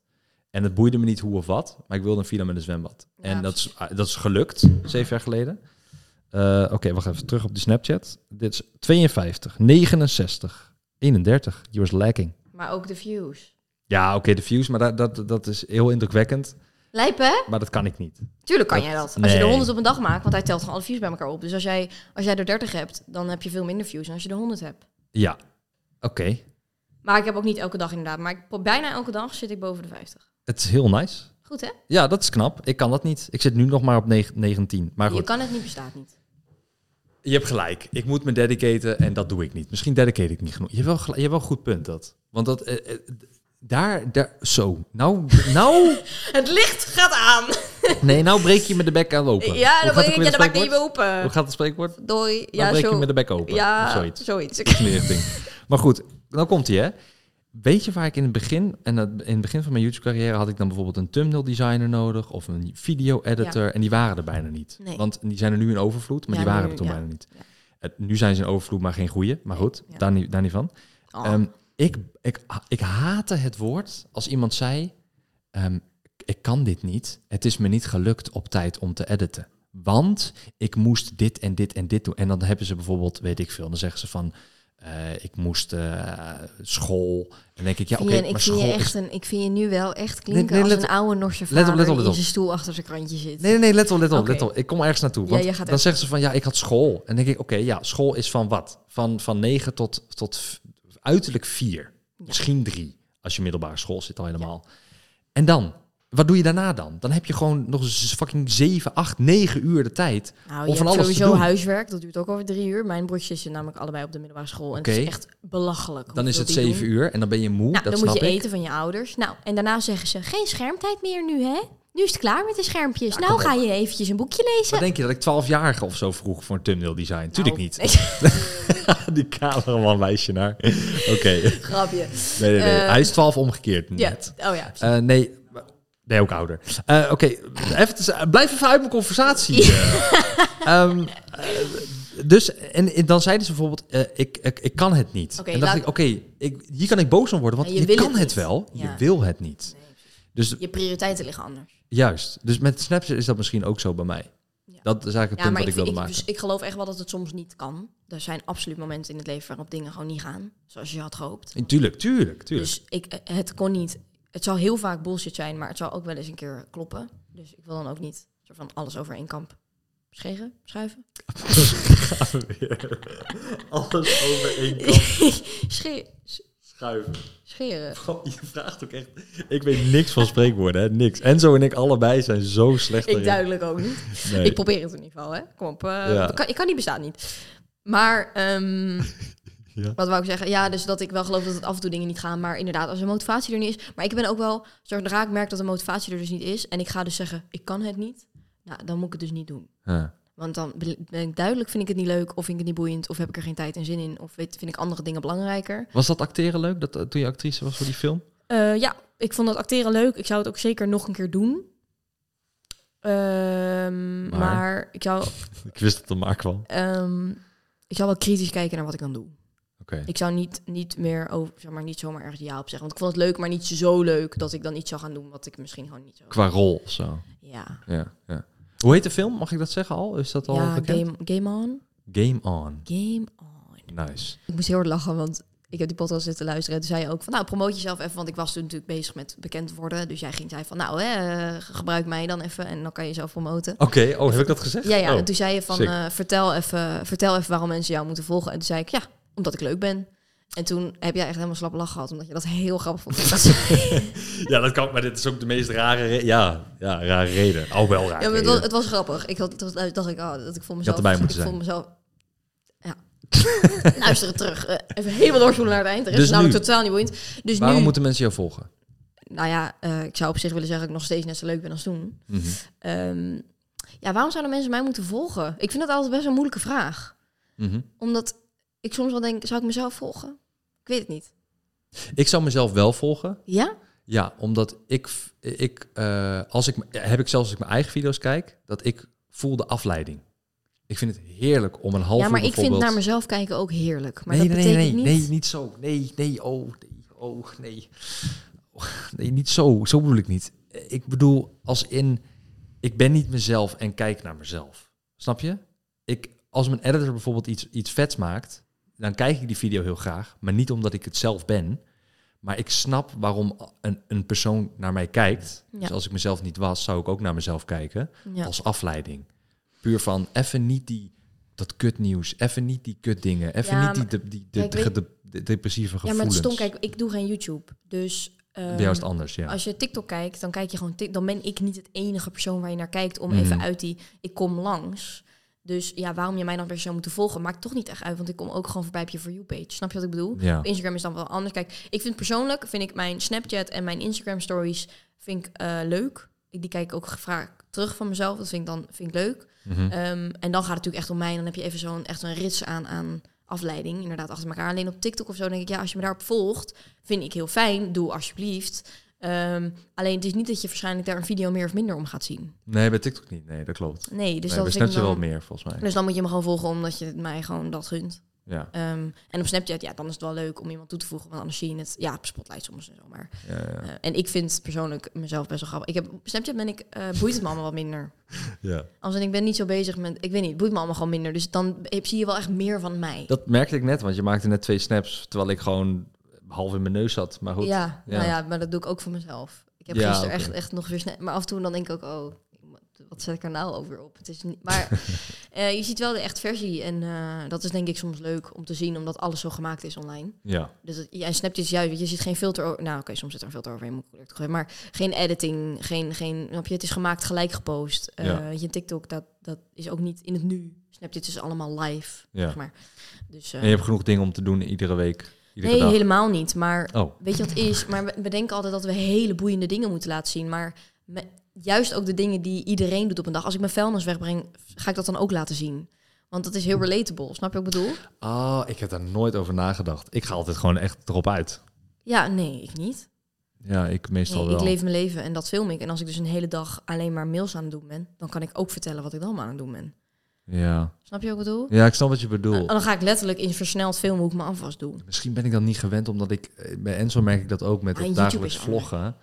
En het boeide me niet hoe of wat, maar ik wilde een villa met een zwembad. en dat is, ah, dat is gelukt, zeven jaar geleden. Eh, Oké, wacht even, terug op die Snapchat. Dit is 52, 69, 31. You was lacking. Maar ook de views. Ja, oké, de views, maar dat, dat, dat is heel indrukwekkend. Lijp, hè? Maar dat kan ik niet. Tuurlijk kan Dat- jij dat. Als je nee. er 100 op een dag maakt, want hij telt gewoon alle views bij elkaar op. Dus als jij, als jij er 30 hebt, dan heb je veel minder views dan als je er 100 hebt. Ja, oké. Maar ik heb ook niet elke dag inderdaad. Maar ik, pro- bijna elke dag zit ik boven de 50. Het is heel nice. Goed, hè? Ja, dat is knap. Ik kan dat niet. Ik zit nu nog maar op neg- 19. Maar Je goed, kan het niet, bestaat niet. je hebt gelijk. Ik moet me dedicaten en dat doe ik niet. Misschien dedicate ik niet genoeg. Je hebt wel, gel- je hebt wel een goed punt dat. Want dat... eh, eh, d- daar, daar, zo. Nou, nou, Het licht gaat aan. nee, nou breek je me de bek aan open. Ja, Hoe dan gaat ben ook ik, weer ja, het dan maak ik niet spreekwoord? meer Hoe open. gaat het spreekwoord? Dan Doei. Ja, breek zo. je me de bek open. ja, Of zoiets. Ehm, zoiets. In die richting. Maar goed, nou komt hij hè. Weet je waar ik in het begin, en dat, in het begin van mijn YouTube carrière had ik dan bijvoorbeeld een thumbnail designer nodig of een video editor en die waren er bijna niet. Nee. Want die zijn er nu in overvloed, maar Ja, die waren nu, er toen ja. bijna niet. Ja. Het- nu zijn ze in overvloed, maar geen goede. Maar goed, Ja. daar, niet, daar niet van. Oh. Ehm, ik, ik, ik haatte het woord als iemand zei, ehm, ik kan dit niet. Het is me niet gelukt op tijd om te editen. Want ik moest dit en dit en dit doen. En dan hebben ze bijvoorbeeld, weet ik veel, dan zeggen ze van... eh, ik moest eh, school. En dan denk ik, ja, oké, Jan, ik, maar vind school je is- echt een, ik vind je nu wel echt Nee, klinken nee, als let een op. oude Norse Let op, vader let op, let die op. zijn stoel achter zijn krantje zit. Nee, nee, nee, let op, let op, Oké. let op. Ik kom ergens naartoe. Ja, Want jij gaat dan ergens zeggen ze van, ja, ik had school. En dan denk ik, oké, ja, school is van wat? Van, van 9 tot, tot v- uiterlijk 4. Misschien 3, als je middelbare school zit al helemaal. En dan? Wat doe je daarna dan? Dan heb je gewoon nog eens fucking 7, 8, 9 uur de tijd. Nou, om je van alles hebt te sowieso doen. huiswerk, dat duurt ook over drie uur. Mijn broertjes zitten namelijk allebei op de middelbare school. En het Oké. is echt belachelijk. Dan is het 7 zeven uur en dan ben je moe. Nou, dat dan snap moet je ik. eten van je ouders. Nou, en daarna zeggen ze, geen schermtijd meer nu, hè? Nu is het klaar met de schermpjes. kom nou, op. ga je eventjes een boekje lezen. Wat denk je dat ik 12-jarige of zo vroeg voor een thumbnail design? Tuurlijk Nou, niet. Die cameraman meisje naar. Oké. Nee, Grapje. nee, nee. Eh, Hij is 12 omgekeerd. Ja, Net. oh ja. Eh, nee, maar- nee, ook ouder. Eh, Oké, even te- eh, blijf even uit mijn conversatie. Eh, ehm, eh, dus, en, en dan zeiden ze bijvoorbeeld, eh, ik, ik, ik kan het niet. Oké, en dacht laat- ik, oké, ik- hier kan ik boos om worden, want Ja, je je, wil kan het het, niet. wel, Ja. je wil het niet. Dus Je prioriteiten liggen anders. juist, dus met Snapchat is dat misschien ook zo bij mij. Ja. Dat is eigenlijk het Ja, punt wat maar ik, ik vind- wilde ik, maken. dus ik geloof echt wel dat het soms niet kan. Er zijn absoluut momenten in het leven waarop dingen gewoon niet gaan. Zoals je had gehoopt. Eh, Tuurlijk, tuurlijk, tuurlijk. Dus ik, eh, het kon niet. Het zal heel vaak bullshit zijn, maar het zal ook wel eens een keer kloppen. Dus ik wil dan ook niet soort van alles over één kamp schegen, schuiven. Alles over één kant Sche- s- schuiven. scheren. Oh, Je vraagt ook echt... Ik weet niks van spreekwoorden, hè? Niks. Enzo en ik allebei zijn zo slecht Ik duidelijk ook niet. Nee. Ik probeer het in ieder geval, hè. Kom op. eh, Ja. ik, kan, ik kan niet bestaan niet. Maar ehm, Ja. wat wou ik zeggen? Ja, dus dat ik wel geloof dat het af en toe dingen niet gaan. Maar inderdaad, als de motivatie er niet is. Maar ik ben ook wel, zodra ik merk dat de motivatie er dus niet is... en ik ga dus zeggen, ik kan het niet. Nou, dan moet ik het dus niet doen. Ja. Want dan ben ik duidelijk, vind ik het niet leuk, of vind ik het niet boeiend, of heb ik er geen tijd en zin in, of weet, vind ik andere dingen belangrijker. Was dat acteren leuk dat, eh, toen je actrice was voor die film? Eh, ja, ik vond dat acteren leuk. Ik zou het ook zeker nog een keer doen. Ehm, Maar? maar? ik, zou, Ik wist dat het maar kwam. ehm, ik zou wel kritisch kijken naar wat ik dan doe. Oké. Ik zou niet, niet meer over, zeg maar, niet zomaar ergens ja op zeggen. Want ik vond het leuk, maar niet zo leuk dat ik dan iets zou gaan doen wat ik misschien gewoon niet zo. Qua rol of zo. Ja, Ja, ja. Hoe heet de film? Mag ik dat zeggen al? Is dat al ja bekend? game, game on. Game On. Game on. Nice. Ik moest heel hard lachen, want ik heb die podcast zitten luisteren. En toen zei je ook van, nou, promoot jezelf even. Want ik was toen natuurlijk bezig met bekend worden. Dus jij ging zei van, nou, hè, eh, gebruik mij dan even. En dan kan je jezelf promoten. Oké, oh, heb ik dat gezegd? Ja, ja. Oh. En toen zei je van, sick. eh, vertel, even, vertel even waarom mensen jou moeten volgen. En toen zei ik, ja, omdat ik leuk ben. En toen heb jij echt helemaal slap lachen gehad, omdat je dat heel grappig vond. Dat ze- Ja, dat kan, maar dit is ook de meest rare, re- ja, ja, rare reden. Oh, wel raar. ja, maar het, reden. was, het was grappig. Ik had, toen dacht ik, oh, dat ik voor mezelf... erbij moeten ik vond zijn. mezelf... Ja. Luister het terug. Eh, even helemaal doorspoelen naar het eind. Er is Dus namelijk nu? totaal niet boeiend. Dus Waarom nu... moeten mensen jou volgen? nou ja, eh, ik zou op zich willen zeggen dat ik nog steeds net zo leuk ben als toen. Mhm. Ehm, ja, waarom zouden mensen mij moeten volgen? Ik vind dat altijd best een moeilijke vraag. Mhm. Omdat ik soms wel denk, zou ik mezelf volgen? Ik weet het niet. Ik zou mezelf wel volgen. Ja? Ja, omdat ik, v- ik eh, als ik, heb ik zelfs als ik mijn eigen video's kijk, dat ik voel de afleiding. Ik vind het heerlijk om een half ja, maar uur ik vind bijvoorbeeld- naar mezelf kijken ook heerlijk. Maar nee, dat nee, nee, betekent nee, niet... nee, niet zo. Nee, nee, oh, nee, oh, nee. Oh, Nee, niet zo. Zo bedoel ik niet. Ik bedoel, als in, ik ben niet mezelf en kijk naar mezelf. Snap je? Ik, als mijn editor bijvoorbeeld iets, iets vets maakt, dan kijk ik die video heel graag. Maar niet omdat ik het zelf ben. Maar ik snap waarom een, een persoon naar mij kijkt. Ja. Dus als ik mezelf niet was, zou ik ook naar mezelf kijken Ja. als afleiding. Puur van even niet die dat kutnieuws, even niet die kutdingen, even Ja, niet die, de, die de, kijk, weet- de- de- depressieve ja, gevoelens. maar het stom, kijk, ik doe geen YouTube. Dus... ehm, Bij jou is het anders, ja. Als je TikTok kijkt, dan kijk je gewoon tik- dan ben ik niet het enige persoon waar je naar kijkt om Mhm. even uit die ik kom langs. Dus ja, waarom je mij dan weer zou moeten volgen, maakt toch niet echt uit, want ik kom ook gewoon voorbij op je for you page. Snap je wat ik bedoel? Ja. Op Instagram is dan wel anders. Kijk, ik vind persoonlijk vind ik mijn Snapchat en mijn Instagram stories vind ik eh, leuk. Ik- Die kijk ik ook vaak terug van mezelf. Dat vind ik dan vind ik leuk. Mhm. Ehm, en dan gaat het natuurlijk echt om mij. En dan heb je even zo'n echt een rits aan aan afleiding. Inderdaad, achter elkaar. Alleen op TikTok of zo denk ik, ja, als je me daarop volgt, vind ik heel fijn. Doe alsjeblieft. Ehm, alleen het is niet dat je waarschijnlijk daar een video meer of minder om gaat zien. Nee, bij TikTok niet. Nee, dat klopt. Nee, dus Dus nee, bij dat vind ik Snapchat wel dan, meer, volgens mij. Dus dan moet je me gewoon volgen omdat je mij gewoon dat gunt. Ja, Ehm, en op Snapchat, ja, dan is het wel leuk om iemand toe te voegen. Want anders zie je het, ja, op Spotlight soms en zo. Maar, ja, ja. eh, en ik vind persoonlijk mezelf best wel grappig. Ik heb, op Snapchat ben ik, eh, boeit het me allemaal wat minder. ja. Als in, ik ben niet zo bezig met, ik weet niet, het boeit me allemaal gewoon minder. Dus dan heb- zie je wel echt meer van mij. Dat merkte ik net, want je maakte net twee snaps terwijl ik gewoon half in mijn neus zat. Maar goed. ja, ja. nou ja, maar dat doe ik ook voor mezelf. Ik heb Ja, gisteren oké. echt, echt nog weer snel. Maar af en toe dan denk ik ook, oh, wat zet ik er nou over op? Het is niet, maar eh, je ziet wel de echt versie. En eh, dat is denk ik soms leuk om te zien, omdat alles zo gemaakt is online. Ja. Dus dat, ja, en Snapchat is juist, want je ziet geen filter. o- Nou, oké, soms zit er een filter overheen, moet ik eerlijk toegeven. Maar geen editing, geen, geen, snap je, het is gemaakt gelijk gepost. Eh, Ja. Weet je, TikTok, dat, dat is ook niet in het nu. Snapchat is allemaal live, Ja. zeg maar. Dus, eh, En je hebt genoeg dingen om te doen iedere week. Iedere nee, dag. helemaal niet. Maar Oh, weet je wat is? Maar we, we denken altijd dat we hele boeiende dingen moeten laten zien. Maar me- juist ook de dingen die iedereen doet op een dag. Als ik mijn vuilnis wegbreng, ga ik dat dan ook laten zien. Want dat is heel relatable, snap je wat ik bedoel? oh, ik heb daar nooit over nagedacht. Ik ga altijd gewoon echt erop uit. Ja, nee, ik niet. Ja, ik meestal Nee, ik wel. leef mijn leven en dat film ik. En als ik dus een hele dag alleen maar mails aan het doen ben, dan kan ik ook vertellen wat ik dan maar aan het doen ben. Ja. Snap je wat ik bedoel? ja, ik snap wat je En bedoelt. dan ga ik letterlijk in versneld filmen hoe ik me afwas doe. Misschien ben ik dan niet gewend, omdat ik eh, bij Enzo merk ik dat ook met Ah, het YouTube dagelijks is anders. vloggen.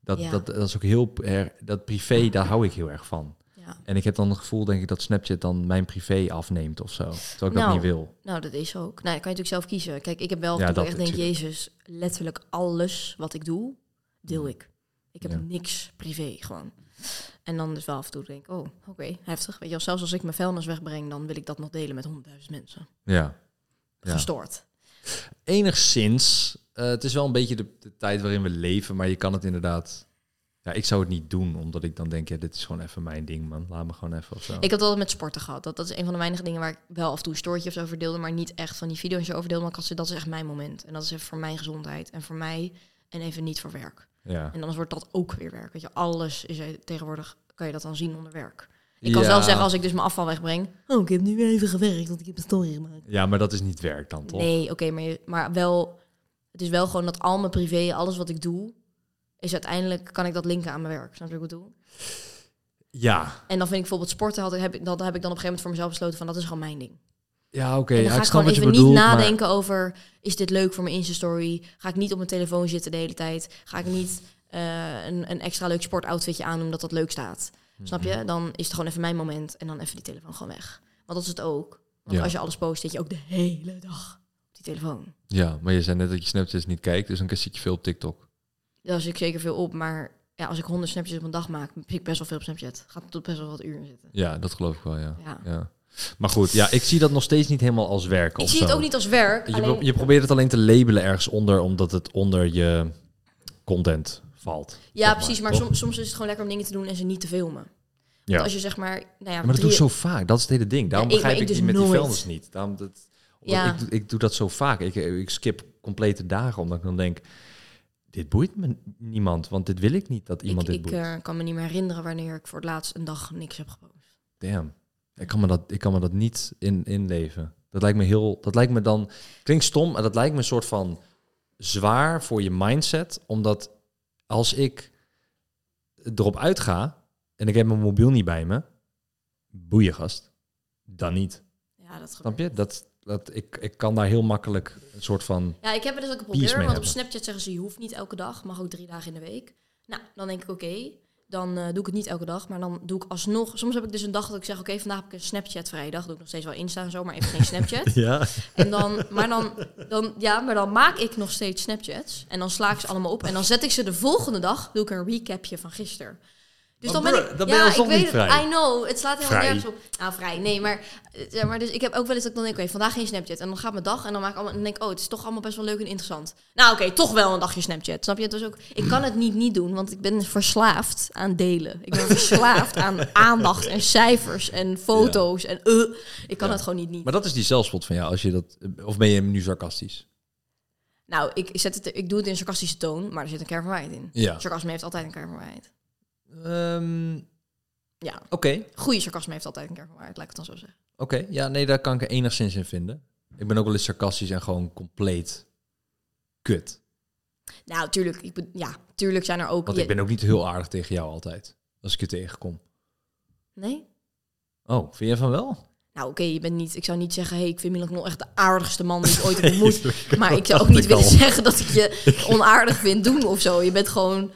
Dat, Ja. dat, dat is ook heel er- dat privé, daar hou ik heel erg van. Ja. En ik heb dan het gevoel, denk ik, dat Snapchat dan mijn privé afneemt of zo. Terwijl ik dat Nou, niet wil. Nou, dat is ook. Nou, dat kan je natuurlijk zelf kiezen. Kijk, ik heb wel Ja, dat ik dat echt denk, natuurlijk. Jezus, letterlijk alles wat ik doe, deel ik. Ik heb Ja. niks privé gewoon. En dan dus wel af en toe denk ik, oh, oké, heftig. Weet je wel, zelfs als ik mijn vuilnis wegbreng, dan wil ik dat nog delen met honderdduizend mensen. Ja. Ja. Gestoord. enigszins. eh, het is wel een beetje de, de tijd waarin we leven, maar je kan het inderdaad. Ja, ik zou het niet doen, omdat ik dan denk, ja, dit is gewoon even mijn ding, man. Laat me gewoon even of zo. Ik had altijd met sporten gehad. Dat, dat is een van de weinige dingen waar ik wel af en toe stoortjes over deelde, maar niet echt van die video's over deelde. Maar ik had zoiets, dat is echt mijn moment. En dat is even voor mijn gezondheid en voor mij en even niet voor werk. ja. En anders wordt dat ook weer werk. Weet je, alles is eh, tegenwoordig, kan je dat dan zien onder werk. Ik kan wel zeggen, als ik dus mijn afval wegbreng... Oh, ik heb nu weer even gewerkt, want ik heb een story gemaakt. Ja, maar dat is niet werk dan, toch? Nee, oké, maar, je- maar wel... Het is wel gewoon dat al mijn privé, alles wat ik doe... is uiteindelijk, kan ik dat linken aan mijn werk. Snap je wat ik bedoel? Ja. En dan vind ik bijvoorbeeld sporten, had, ik- heb, ik- dat heb ik dan op een gegeven moment voor mezelf besloten... van dat is gewoon mijn ding. Ja, oké. en ja, dan ga ik ik snap gewoon wat even je bedoelt. niet maar- nadenken over... is dit leuk voor mijn Insta-story? Ga ik niet op mijn telefoon zitten de hele tijd? Ga ik niet eh, een, een extra leuk sportoutfitje aan omdat dat leuk staat? Snap Mhm. je? Dan is het gewoon even mijn moment en dan even die telefoon gewoon weg. Want dat is het ook. Want Ja. als je alles post, zit je ook de hele dag op die telefoon. Ja, maar je zei net dat je Snapchat niet kijkt, dus dan zit je veel op TikTok. Daar zit dus ik zeker veel op, maar ja, als ik honderd snapjes op een dag maak, zit ik best wel veel op Snapchat. Gaat tot best wel wat uren zitten. Ja, dat geloof ik wel, ja. Ja. ja. Maar goed, ja, ik zie dat nog steeds niet helemaal als werk Ik of zie zo. het ook niet als werk. Je, alleen- pro- je probeert het alleen te labelen ergens onder, omdat het onder je content valt. zeg ja, precies. Maar toch? soms, soms is het gewoon lekker om dingen te doen en ze niet te filmen. Ja. Want als je zeg maar... Nou ja, Ja, maar dat doe ik zo drie- vaak. Dat is het hele ding. Daarom Ja, ik- begrijp ik, maar ik die met dus die nooit. vuilnis niet. Daarom dat, omdat Ja. ik, doe- ik doe dat zo vaak. Ik, ik skip complete dagen, omdat ik dan denk... Dit boeit me niemand, want dit wil ik niet dat iemand ik, dit ik boeit. eh, kan me niet meer herinneren wanneer ik voor het laatst een dag niks heb gepost. Damn. Ik kan me dat, ik kan me dat niet in, inleven. Dat lijkt me heel... Dat lijkt me dan... Klinkt stom, maar dat lijkt me een soort van zwaar voor je mindset. Omdat als ik erop uitga en ik heb mijn mobiel niet bij me... Boeien, gast. Dan niet. Ja, dat gebeurt. Snap je? Dat, dat, ik, ik kan daar heel makkelijk een soort van... Ja, ik heb er dus ook een Piers probleem. mee Want op hebben. Snapchat zeggen ze, je hoeft niet elke dag, mag ook drie dagen in de week. Nou, dan denk ik, oké, dan eh, doe ik het niet elke dag. Maar dan doe ik alsnog... Soms heb ik dus een dag dat ik zeg, oké, vandaag heb ik een Snapchat vrijdag. Doe ik nog steeds wel Insta en zo, maar even geen Snapchat. Ja. En dan, maar dan, dan, ja, maar dan maak ik nog steeds Snapchats. En dan sla ik ze allemaal op. En dan zet ik ze de volgende dag, doe ik een recapje van gisteren. Dus Maar dan ben broer, ik, dan ben je ja, alsnog ik weet niet het, vrij. I know, het slaat helemaal Vrij. nergens op. Nou, vrij, nee, maar, eh, zeg maar dus ik heb ook wel eens dat ik dan denk, oké, vandaag geen Snapchat. En dan gaat mijn dag en dan maak ik allemaal, en dan denk ik, oh, het is toch allemaal best wel leuk en interessant. Nou, oké, toch wel een dagje Snapchat, snap je? Het was ook, ik kan het niet niet doen, want ik ben verslaafd aan delen. Ik ben verslaafd aan aandacht en cijfers en foto's en eh, ik kan Ja. het gewoon niet niet. Maar dat is die zelfspot van jou. Als je dat, of ben je nu sarcastisch? Nou, ik, ik zet het, ik doe het in sarcastische toon, maar er zit een kern van waarheid in. Ja. Sarcasme heeft altijd een kern van waarheid. Oké, Ja, Ehm, oké. goede sarcasme heeft altijd een kern van waarheid, laat ik het dan zo zeggen. Ja, nee, daar kan ik er enigszins in vinden. Ik ben ook wel eens sarcastisch en gewoon compleet kut. Nou, tuurlijk, ik, be- ja, tuurlijk zijn er ook... Want je- ik ben ook niet heel aardig tegen jou altijd. Als ik je tegenkom. Nee? Oh, vind je van wel? Nou, oké, je bent niet. Ik zou niet zeggen, hey, ik vind Milan Knol echt de aardigste man die ik ooit heb ontmoet. Sorry, maar ik zou ook dacht niet ik willen al. zeggen dat ik je onaardig vind doen of zo. Je bent gewoon,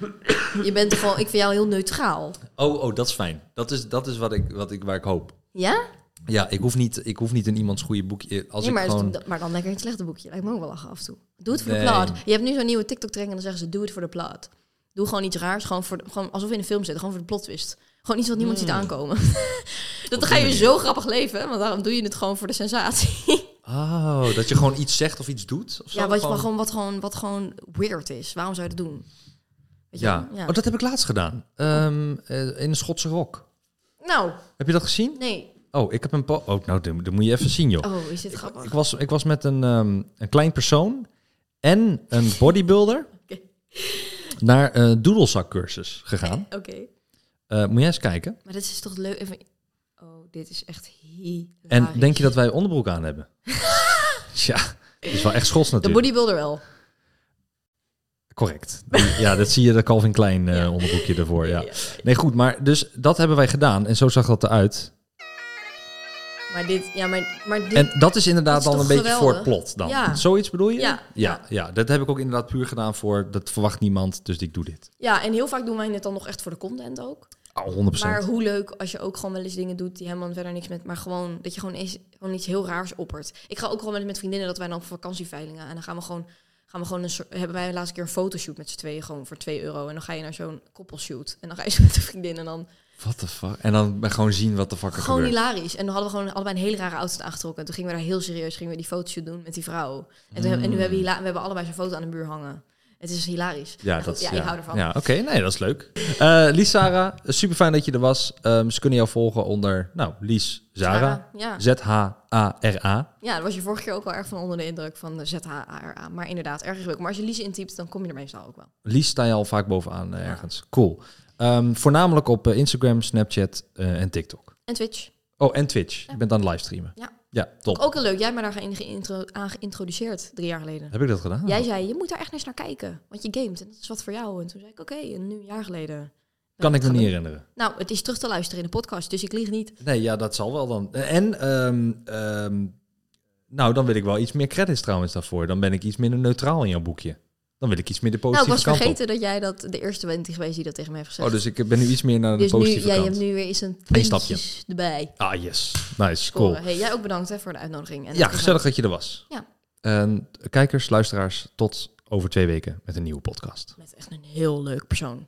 je bent gewoon. Ik vind jou heel neutraal. Oh, oh, dat is fijn. Dat is, dat is wat ik, wat ik, waar ik hoop. Ja? Ja, ik hoef niet, ik hoef niet in iemands goede boekje. eh, Als Nee, maar, ik is- gewoon... d- maar dan lekker een slechte boekje. Lijkt me ook wel lachen af en toe. Doe het voor Nee. de plaat. Je hebt nu zo'n nieuwe TikTok-trend en dan zeggen ze... Doe het voor de plaat. Doe gewoon iets raars. Gewoon, voor de- gewoon alsof je in een film zit. Gewoon voor de plot twist. Gewoon iets wat niemand Hmm. ziet aankomen. dat dan ga je zo grappig leven. Want daarom doe je het gewoon voor de sensatie. Oh, dat je gewoon iets zegt of iets doet? Of zo? ja, wat, je- maar gewoon, wat, gewoon, wat gewoon weird is. Waarom zou je dat doen? Weet je Ja. wel? Ja. Oh, dat heb ik laatst gedaan. Ehm, eh, in een Schotse rok. Nou, Heb je dat gezien? nee. Oh, ik heb een... po- Oh, nou, dat dat moet je even zien, joh. Oh, is dit grappig? Ik, was, ik was met een, ehm, een klein persoon en een bodybuilder Oké. naar een doedelzakcursus gegaan. Oké. Eh, moet jij eens kijken? Maar dat is toch leuk? Even... Oh, dit is echt hilarisch. En denk je dat wij onderbroek aan hebben? Tja, dat is wel echt schots De natuurlijk. bodybuilder wel. Correct. Die- Ja, dat zie je, dat Calvin Klein eh, onderbroekje ervoor. Ja. Nee, goed, maar dus dat hebben wij gedaan en zo zag dat eruit. Maar dit... Ja, maar, maar dit... En dat is inderdaad Dat is dan een toch beetje voor het geweldig? plot dan. Ja. Zoiets bedoel je? Ja. ja. Ja, dat heb ik ook inderdaad puur gedaan voor, dat verwacht niemand, dus ik doe dit. Ja, en heel vaak doen wij het dan nog echt voor de content ook. Oh, 100%. Maar hoe leuk als je ook gewoon wel eens dingen doet die helemaal verder niks met... Maar gewoon dat je gewoon, eens, gewoon iets heel raars oppert. Ik ga ook gewoon wel eens met vriendinnen dat wij dan op vakantieveilingen... En dan gaan we gewoon... Gaan we gewoon een, soort- hebben wij de laatste keer een fotoshoot met z'n tweeën gewoon voor 2 euro. En dan ga je naar zo'n koppelshoot. En dan ga je zo met een vriendin en dan What the fuck? En dan maar gewoon zien wat de fuck er gewoon gebeurt. hilarisch. En dan hadden we gewoon allebei een hele rare outfit aangetrokken. En toen gingen we daar heel serieus gingen we die fotoshoot doen met die vrouw. En, toen, en nu hebben we, hila- we hebben allebei zo'n foto aan de muur hangen. Het is hilarisch. Maar Mm. Ja, goed, dat, is- ja, ik hou ervan. Ja, oké. Nee, dat is leuk. Eh Lies Sarah, super fijn dat je er was. Ehm, ze kunnen jou volgen onder, nou, Lies Zara. Ja. Z-H-A-R-A. Ja, daar was je vorige keer ook wel erg van onder de indruk van de ZHARA. Maar inderdaad, erg leuk. Maar als je Lies intypt, dan kom je er meestal ook wel. Lies sta je al vaak bovenaan eh, ergens. Cool. Ehm, voornamelijk op eh, Instagram, Snapchat eh, en TikTok. En Twitch. Oh, en Twitch. Je bent aan het livestreamen. Ja. Ja, top. Ook heel leuk. Jij hebt me daar geïn- geïntro- aan geïntroduceerd drie jaar geleden. Heb ik dat gedaan? Jij zei, je moet daar echt eens naar kijken. Want je gamet en dat is wat voor jou. En toen zei ik, oké, en nu een jaar geleden. ben Kan ik dat me niet gaan herinneren. doen. Nou, het is terug te luisteren in de podcast, dus ik lieg niet. Nee, ja, dat zal wel dan. En, ehm, ehm, nou, dan wil ik wel iets meer credits trouwens daarvoor. Dan ben ik iets minder neutraal in jouw boekje. Dan wil ik iets meer de Nou, positieve ik was kant op. vergeten dat jij dat de eerste bent geweest die dat tegen mij heeft gezegd. Oh, dus ik ben nu iets meer naar de Dus nu, positieve jij kant. hebt nu weer eens een Eén stapje. puntjes erbij. Ah, yes. Nice, Cool. cool. Hey, jij ook bedankt hè, voor de uitnodiging. En Ja, het gezellig dat je er was. Ja. En kijkers, luisteraars, tot over twee weken met een nieuwe podcast. Met echt een heel leuk persoon.